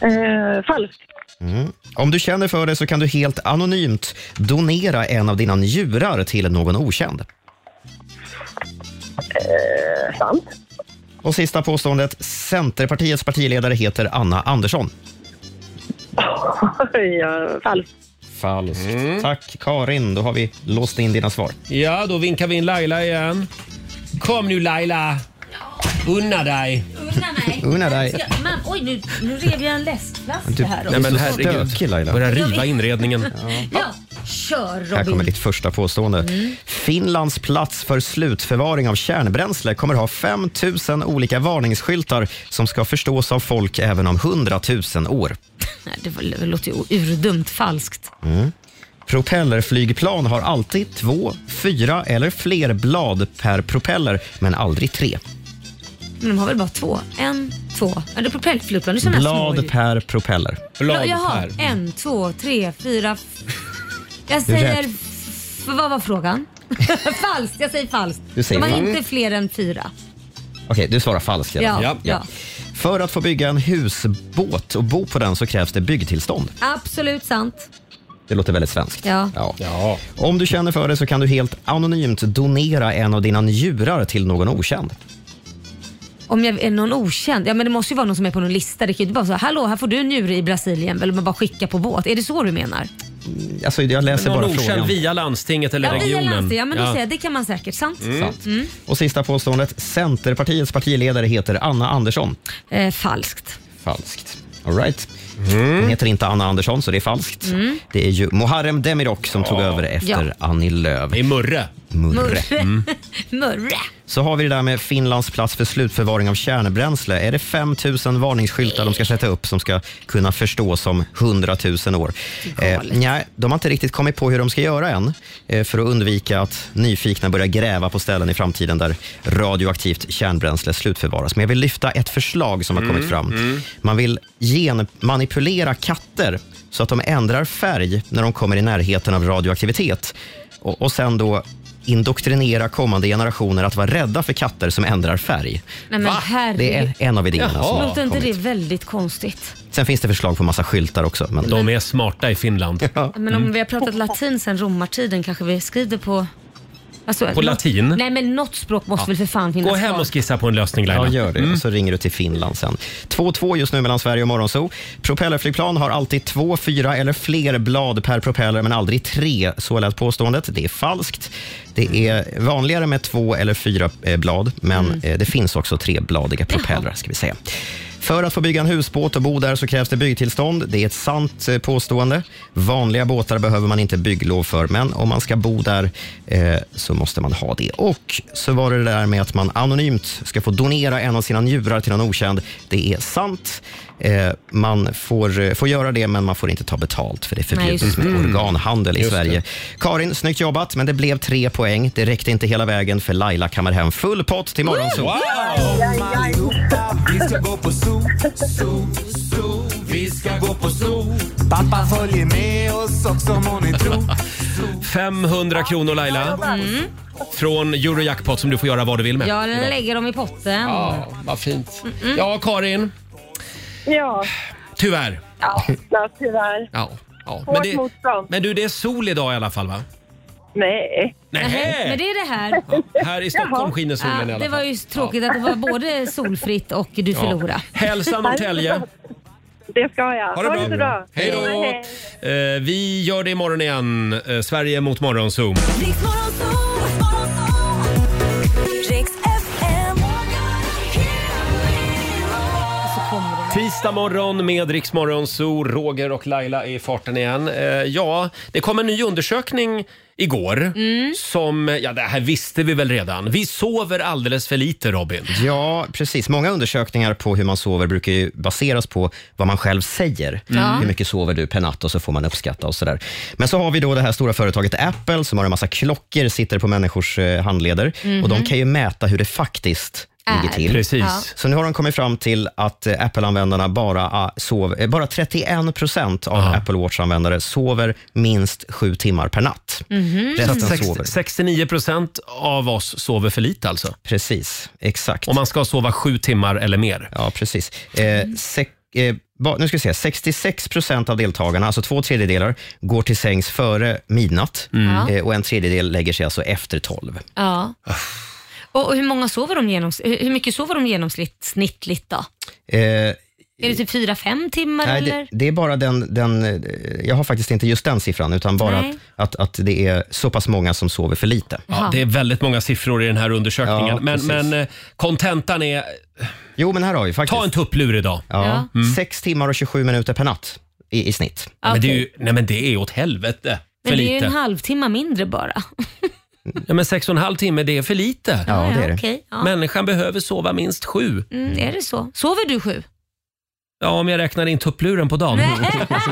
Eh, falskt.
Mm. Om du känner för det så kan du helt anonymt donera en av dina njurar till någon okänd.
Eh, sant.
Och sista påståendet. Centerpartiets partiledare heter Anna Andersson.
Ja, falskt.
Falskt.
Mm.
Tack Karin, då har vi låst in dina svar.
Ja, då vinkar vi in Laila igen. Kom nu Laila! Unna dig!
Unna mig.
Unna dig.
Ska- Men, oj, nu, nu rev jag en läskflaska
Typ-
här. också.
Nej men herregud.
stökig, Laila.
Börja riva inredningen.
Ja, kör
Här kommer
Robin. Mm.
ditt första påstående. Finlands plats för slutförvaring av kärnbränsle kommer ha 5 000 olika varningsskyltar som ska förstås av folk även om 100 000 år.
Nej, det var- det låter ju urdumt falskt.
Mm. Propellerflygplan har alltid två, fyra eller fler blad per propeller, men aldrig tre.
Men de har väl bara två? En, två. Ja, det är propellflygplan. Det är sådana här små ju.
Blad per propeller.
Ja, Jaha, en, två, tre, fyra. f- Jag
Det är
säger...
rätt.
f- Vad var frågan? falskt, jag säger falskt.
Du säger
de har
falskt.
inte fler än fyra.
Okej, du svarar falskt. Gerhard.
Ja, ja.
För att få bygga en husbåt och bo på den så krävs det byggtillstånd.
Absolut sant.
Det låter väldigt svenskt.
Ja.
Om du känner för det så kan du helt anonymt donera en av dina njurar till någon okänd.
Om jag är någon okänd, ja men det måste ju vara någon som är på någon lista. Det kan ju inte bara så här, hallå här får du en njure i Brasilien. Eller man bara skickar på båt. Är det så du menar?
Alltså, jag läser
Någon
bara
okänd
frågan.
via landstinget eller
ja, via
regionen.
landsting. Ja men då säger jag, det kan man säkert. Sant?
Mm. Sant.
Mm.
Och sista påståendet. Centerpartiets partiledare heter Anna Andersson.
Eh, falskt.
Falskt. All right. Hon heter inte Anna Andersson, så det är falskt.
Mm.
Det är ju Muharrem Demirok som tog över efter
Ja.
Annie Lööf. Det är
Murre.
Murre. Mm.
Murre.
Så har vi det där med Finlands plats för slutförvaring av kärnbränsle. Är det 5 000 varningsskyltar de ska sätta upp som ska kunna förstås om 100 000 år? Eh, nej, de har inte riktigt kommit på hur de ska göra än eh, för att undvika att nyfikna börjar gräva på ställen i framtiden där radioaktivt kärnbränsle slutförvaras. Men jag vill lyfta ett förslag som har
Mm,
kommit fram.
mm.
Man vill genmanipulera katter så att de ändrar färg när de kommer i närheten av radioaktivitet. Och, och sen då indoktrinera kommande generationer att vara rädda för katter som ändrar färg.
Nej, men herregud.
Det är en av idéerna som har
Låter inte
kommit.
det väldigt konstigt?
Sen finns det förslag på massa skyltar också. Men...
De är smarta i Finland. Mm.
Men
Mm.
om vi har pratat latin sen romartiden kanske vi skriver på... alltså,
På latin?
Nej men något språk måste
Ja.
väl för fan finnas
Gå hem
kvar.
och
Skissa på en lösning Laila. Mm.
Ja, gör det. Och så ringer du till Finland sen. 2-2 just nu mellan Sverige och Morgonzoo. Propellerflygplan har alltid två, fyra eller fler blad per propeller, men aldrig tre. Så lät påståendet. Det är falskt. Det är vanligare med två eller fyra eh, blad, men
Mm.
eh, det finns också trebladiga propellrar. Ska vi säga. För att få bygga en husbåt och bo där så krävs det byggtillstånd. Det är ett sant eh, påstående. Vanliga båtar behöver man inte bygglov för, men om man ska bo där eh, så måste man ha det. Och så var det det där med att man anonymt ska få donera en av sina njurar till någon okänd. Det är sant. Eh, man får, eh, får göra det, men man får inte ta betalt för det är
Nej,
förbjudet
just
med
det. Mm.
organhandel i
Just det.
Sverige. Karin, snyggt jobbat, men det blev tre poäng. Det räckte inte hela vägen, för Laila kammar hem full pott till Morgonzoo.
Oh, Vi ska gå på zoo, zoo, zoo. Vi ska gå på zoo. Pappa följer med oss också må ni tro.
500 kronor Laila.
Mm.
Från Eurojackpot som du får göra vad du vill med.
Jag lägger dem i potten. Mm.
Ja, vad fint. Ja, Karin.
Ja,
Tyvärr.
Mm.
ja tyvärr.
Ja. ja.
Hårt
det,
motstånd.
men du, det är sol idag i alla fall va?
Nej.
Nej.
Men det är det här.
Här i Stockholm
Jaha.
skiner solen i alla
Det var
fall.
ju tråkigt att det var både solfritt och du
Ja.
förlorade.
Hälsa Norrtälje.
Det ska jag.
Ha det bra. Hej då. Eh, vi gör det imorgon igen. Eh, Sverige mot morgonzoo. Tisdag morgon med Riksmorgonzoo. Roger och Laila är i farten igen. Eh, ja, det kom en ny undersökning igår
Mm.
som, ja det här visste vi väl redan. Vi sover alldeles för lite Robin.
Ja, precis. Många undersökningar på hur man sover brukar ju baseras på vad man själv säger.
Ja.
Hur mycket sover du per natt och så får man uppskatta och sådär. Men så har vi då det här stora företaget Apple som har en massa klockor, sitter på människors eh, handleder
Mhm.
och de kan ju mäta hur det faktiskt ligger
Är.
till.
Precis. Ja.
Så nu har de kommit fram till att eh, Apple-användarna bara, ah, sov, eh, bara 31 procent av Apple Watch-användare sover minst sju timmar per natt.
Mm.
Mhm. Så att
Resten
sex-
sover.
69 procent av oss sover för lite alltså?
Precis, exakt.
Och man ska sova sju timmar eller mer?
Ja, precis. Eh, sek, eh, ba, nu ska vi se, 66 procent av deltagarna, alltså två tredjedelar, går till sängs före midnatt
Mm. Ja.
eh, och en tredjedel lägger sig alltså efter tolv.
Ja. Och och hur många sover de genoms- hur hur mycket sover de genomsnittligt då?
Eh,
Är det typ 4-5 timmar
nej,
eller?
det, det är bara den, den, eh, jag har faktiskt inte just den siffran, utan bara
Nej.
att, att, att det är så pass många som sover för lite.
Ja, det är väldigt många siffror i den här undersökningen.
Ja,
men
precis.
men eh, kontentan är...
Jo, men här har vi faktiskt.
Ta en tupplur idag.
Ja.
Mm.
Sex timmar och 27 minuter per natt i, i snitt.
Men det är ju, nej men det är åt helvete för
Men det är ju
lite.
en halvtimme mindre bara.
ja, men sex och en halv timme, det är för lite.
Ja, det är det. okej, ja.
Människan behöver sova minst sju.
Mm, är det så? Sover du sju?
Ja, om jag räknar in tuppluren på dagen.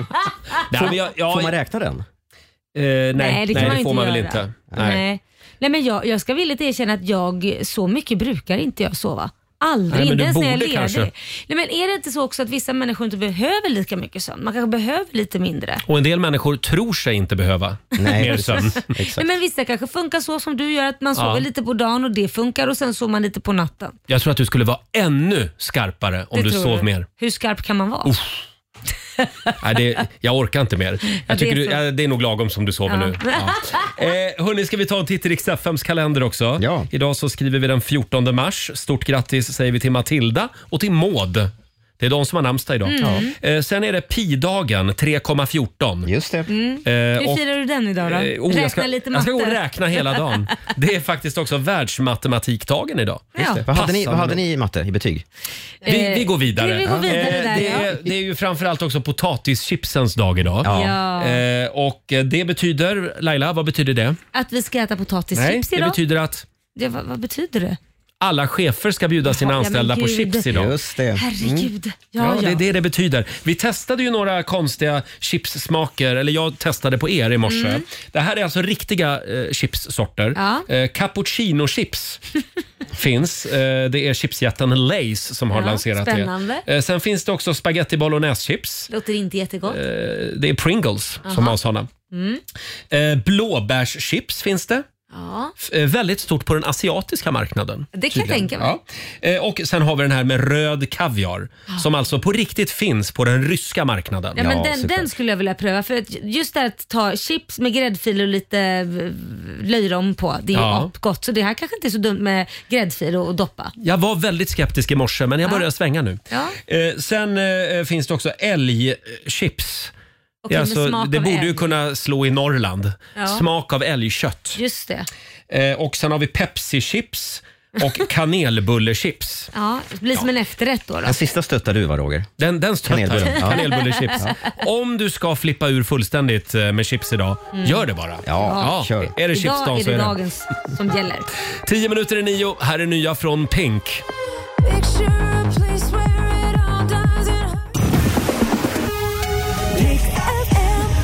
Får- får man räkna den?
Eh, nej,
Nej, det kan man
får
inte
man väl
göra.
inte. Nej.
Nej. Nej men jag, jag ska villigt erkänna att jag, så mycket brukar inte jag sova. Aldrig,
Nej, men
inte
du
ens när jag är
borde
ledig.
kanske.
Nej, men är det inte så också att vissa människor inte behöver lika mycket sömn? Man kanske behöver lite mindre.
Och en del människor tror sig inte behöva mer sömn.
Nej, men vissa kanske funkar så som du gör, att man
Ja.
sover lite på dagen och det funkar och sen sover man lite på natten.
Jag tror att du skulle vara ännu skarpare om
Det
du
tror
sov
jag.
mer.
Hur skarp kan man vara?
Uff. Nej, det, jag orkar inte mer. Jag tycker
det är
du,
så.
ja, det är nog lagom som du sover
Ja.
nu. Eh, hörni, ska vi ta en titt i riks kalender också? Ja. Idag så skriver vi den 14 mars. Stort grattis säger vi till Matilda och till Maud. Det är de som har namnsdag idag.
Mm.
Eh, sen är det pi-dagen, 3,14.
Just det.
Hur Mm. firar du den idag då?
Eh, oh,
Räkna
jag, ska,
lite
jag
matte.
ska gå och räkna hela dagen. Det är faktiskt också världsmatematikdagen idag.
Just det. Eh,
Vad hade ni- vad hade
Passande
ni i matte i betyg?
Vi, vi går vidare.
Vi går vidare
Eh,
där,
det,
ja.
är, det är ju framförallt också potatischipsens dag idag.
Ja. Ja.
Eh, och det betyder, Laila, vad betyder det?
Att vi ska äta potatischips
det
idag?
betyder att
Det, vad, vad betyder det?
alla chefer ska bjuda sina
Ja, men
anställda på
gud.
chips idag.
Just det. Mm.
Herregud.
Ja,
Ja, ja.
det är det det betyder. Vi testade ju några konstiga chipssmaker, eller jag testade på er i morse.
Mm.
Det här är alltså riktiga eh, chipssorter.
Ja.
Eh, cappuccino-chips finns. Eh, det är chipsjätten Lays som har
Ja,
lanserat
spännande.
det. Eh, sen finns det också spaghetti bolognese-chips.
Låter inte jättegott.
Eh, det är Pringles som
Aha.
har sådana.
Mm.
Eh, blåbärschips finns det.
Ja.
F- eh, Väldigt stort på den asiatiska marknaden.
Det kan jag tänka mig.
Ja. Eh, Och sen har vi den här med röd kaviar
Ja.
som alltså på riktigt finns på den ryska marknaden.
Ja, men den, den skulle jag vilja pröva. För att just det här att ta chips med gräddfil och lite eh, löjrom på, det är
Ja.
ja. gott. Så det här kanske inte är så dumt med gräddfil och, och doppa.
Jag var väldigt skeptisk i morse men jag
Ja.
börjar svänga nu.
Ja.
Eh, Sen eh, finns det också älgchips.
Okej, med smak
det
av
borde ju
älg.
kunna slå i Norrland.
Ja.
Smak av älgkött.
Just det.
Eh, Och sen har vi Pepsi-chips och kanelbullechips.
Ja, det blir som en efterrätt då. då.
Den sista stöttar du va Roger?
Den, den stöttar
Kanelbullen.
jag.
Ja.
Kanelbullechips.
Ja.
Om du ska flippa ur fullständigt eh, med chips idag,
Mm.
gör det bara. Ja, Är det
Idag
chipsdagen
är
så
det
är det.
dagens som gäller.
Tio minuter i nio, här är nya från Pink.